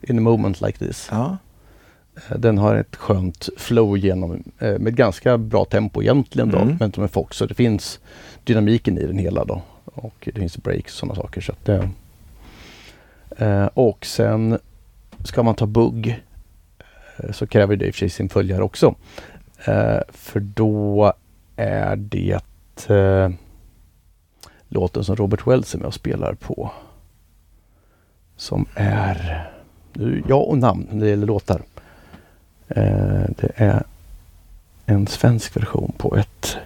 Speaker 4: In a moment like this.
Speaker 1: Ja,
Speaker 4: Eh, Den har ett skönt flow genom, eh, med ganska bra tempo egentligen då,
Speaker 1: Mm.
Speaker 4: men som en fox. Så det finns dynamiken i den hela då. Och det finns breaks och sådana saker. Så att det, eh, och sen ska man ta bugg eh, så kräver det i och för sig sin följare också. Eh, för då är det eh, låten som Robert Wells är med och spelar på. Som är, nu, ja och namn när det gäller låtar. Eh, det är en svensk version på ett...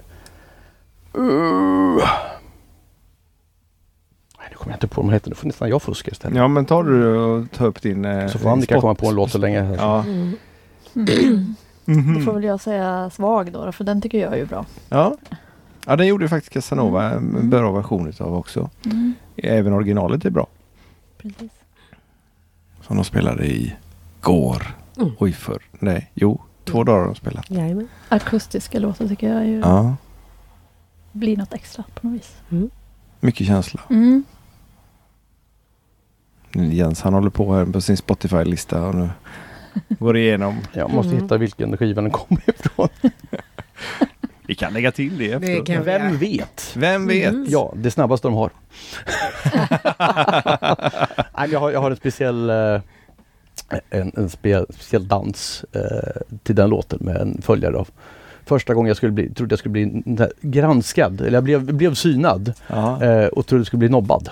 Speaker 4: Uh. Nej, nu kommer jag inte på vad de heter. Nu får nästan jag fuska istället.
Speaker 1: ja men tar du och tar upp din... eh,
Speaker 4: Så får Annika
Speaker 1: spot-
Speaker 4: komma på en låt så länge.
Speaker 1: Ja.
Speaker 2: Mm.
Speaker 3: Mm. Då
Speaker 1: Mm.
Speaker 3: får väl jag säga svag då, då, för den tycker jag är ju bra.
Speaker 1: ja. Ja, den gjorde ju faktiskt Casanova en bra version utav också.
Speaker 3: Mm,
Speaker 1: Även originalet är bra.
Speaker 3: precis.
Speaker 1: Som de spelade i går.
Speaker 2: Mm.
Speaker 1: Oj, förr. Nej, jo. Två dagar har de spelat.
Speaker 2: Jajamän.
Speaker 3: Akustiska låtar tycker jag ju
Speaker 1: Ja,
Speaker 3: blir något extra på något vis.
Speaker 1: mycket känsla.
Speaker 3: Mm.
Speaker 1: Jens han håller på här på sin Spotify-lista och nu går igenom.
Speaker 4: Jag måste
Speaker 2: Mm.
Speaker 4: hitta vilken skiva den kommer ifrån.
Speaker 1: Vi kan lägga till det
Speaker 2: efteråt. kan-
Speaker 4: Vem vet?
Speaker 1: Vem vet?
Speaker 2: Mm.
Speaker 4: Ja, det snabbaste de har. Nej, men jag, har jag har en speciell, eh, en, en spe, speciell dans eh, till den låten med en följare av Första gången jag skulle bli, trodde jag skulle bli n- n- granskad, eller jag blev, blev synad
Speaker 1: Ja.
Speaker 4: eh, och trodde jag skulle bli nobbad.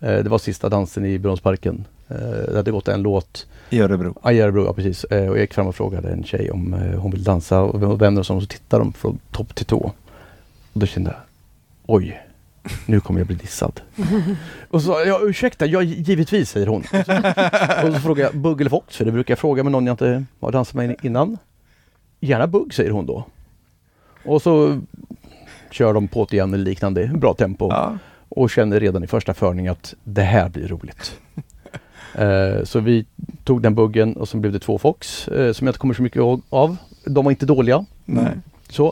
Speaker 4: Eh, det var sista dansen i Brunnsparken. Eh, det hade gått en låt
Speaker 1: I Örebro.
Speaker 4: Ja, i Örebro, ja precis. Eh, och jag gick fram och frågade en tjej om eh, hon vill dansa och vem- vem det var som så tittade de från topp till tå. Och då kände jag, oj, nu kommer jag bli dissad. och så sa jag, ursäkta, jag givetvis, säger hon. Och så, och så frågade jag, bugg eller fox? För det brukar jag fråga med någon jag inte har dansat med innan. Gärna bugg, säger hon då. Och så kör de på igen eller liknande, i bra tempo
Speaker 1: Ja.
Speaker 4: och kände redan i första förning att det här blir roligt. Eh, så vi tog den buggen och sen blev det två Fox eh, som jag inte kommer så mycket ihåg av. De var inte dåliga.
Speaker 2: Mm.
Speaker 1: Nej.
Speaker 4: Så.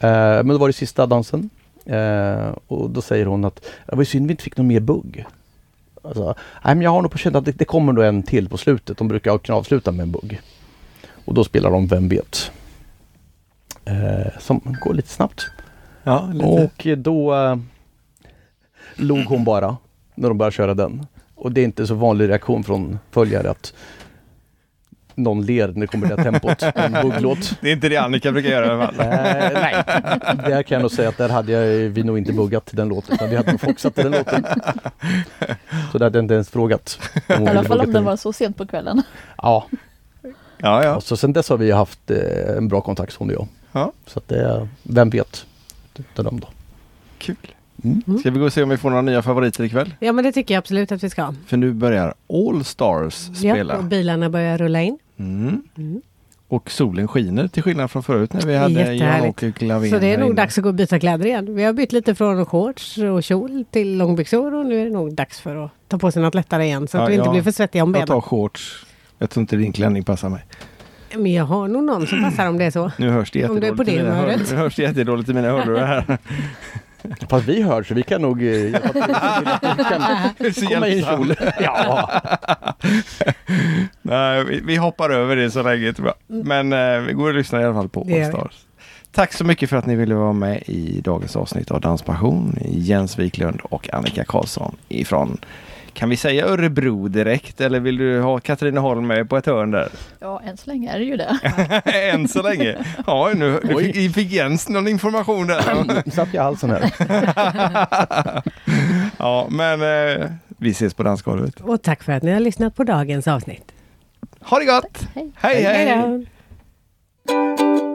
Speaker 4: Eh, men då var det sista dansen. Eh, och då säger hon att det var ju synd vi inte fick någon mer bugg. Alltså, Nej men jag har nog på känn att det, det kommer nog en till på slutet. De brukar kunna avsluta med en bugg. Och då spelar de Vem vet. Eh, som går lite snabbt.
Speaker 1: Ja, lite.
Speaker 4: Och då eh, log hon bara när de började köra den. Och det är inte så vanlig reaktion från följare att någon ler när det kommer det här tempot. En bugglåt.
Speaker 1: Det är inte det Annika brukar göra i alla fall.
Speaker 4: Eh, nej, där kan jag nog säga att där hade jag, vi nog inte buggat till den låten utan vi hade nog foxat till den låten. Så det hade jag inte ens frågat. om hon
Speaker 3: I alla
Speaker 4: ville
Speaker 3: fall
Speaker 4: bugga
Speaker 3: om
Speaker 4: till
Speaker 3: den var så sent på kvällen.
Speaker 4: Ja,
Speaker 1: Ja, ja.
Speaker 4: och så sen dess har vi haft eh, en bra kontakt hon och jag.
Speaker 1: Ja.
Speaker 4: Så att det, är- vem vet? Utan dem då.
Speaker 1: Kul.
Speaker 4: Mm.
Speaker 1: Ska vi gå och se om vi får några nya favoriter ikväll?
Speaker 2: Ja men det tycker jag absolut att vi ska.
Speaker 1: För nu börjar All Stars
Speaker 2: Ja, och
Speaker 1: spela.
Speaker 2: bilarna börjar rulla in.
Speaker 1: Mm.
Speaker 2: Mm.
Speaker 1: Och solen skiner till skillnad från förut när vi hade
Speaker 2: Jättehärligt.
Speaker 1: Jan-Åke Klavin
Speaker 2: Så det är
Speaker 1: här
Speaker 2: nog
Speaker 1: inne.
Speaker 2: dags att gå och byta kläder igen. Vi har bytt lite från shorts och kjol till långbyxor och nu är det nog dags för att ta på sig något lättare igen så att
Speaker 1: Ja,
Speaker 2: vi inte
Speaker 1: ja.
Speaker 2: blir för svettiga om
Speaker 1: Jag tar
Speaker 2: benen.
Speaker 1: shorts. Jag tror inte din klänning passar mig.
Speaker 2: Men jag har nog någon som passar om det är så.
Speaker 1: Nu hörs det
Speaker 2: Om
Speaker 1: jättedåligt,
Speaker 2: du är på
Speaker 1: i
Speaker 2: det
Speaker 1: mina hör-
Speaker 2: humöret.
Speaker 1: nu hörs det jättedåligt i mina hörlurar här.
Speaker 4: Fast vi hörs så vi kan nog eh, hjälpa till att vi kan
Speaker 1: Så
Speaker 4: komma i en
Speaker 1: hjälpsam.
Speaker 4: kjol. Ja.
Speaker 1: Nej, vi, vi hoppar över det så länge. Tror jag. Men eh, vi går och lyssnar i alla fall på
Speaker 2: Det gör
Speaker 1: All
Speaker 2: vi.
Speaker 1: Stars. Tack så mycket för att ni ville vara med i dagens avsnitt av Danspassion. Jens Wiklund och Annika Karlsson ifrån, kan vi säga Örebro direkt eller vill du ha Katrineholm med på ett hörn där?
Speaker 3: Ja, än så länge är det ju det.
Speaker 1: Än så länge. Ja, nu, nu
Speaker 4: Oj.
Speaker 1: fick, fick Jens någon information där.
Speaker 4: Nu satt jag i halsen här.
Speaker 1: ja, men eh, Vi ses på dansgolvet.
Speaker 2: Och tack för att ni har lyssnat på dagens avsnitt.
Speaker 1: Ha det gott!
Speaker 3: Hej.
Speaker 1: hej! hej.
Speaker 2: Hej då!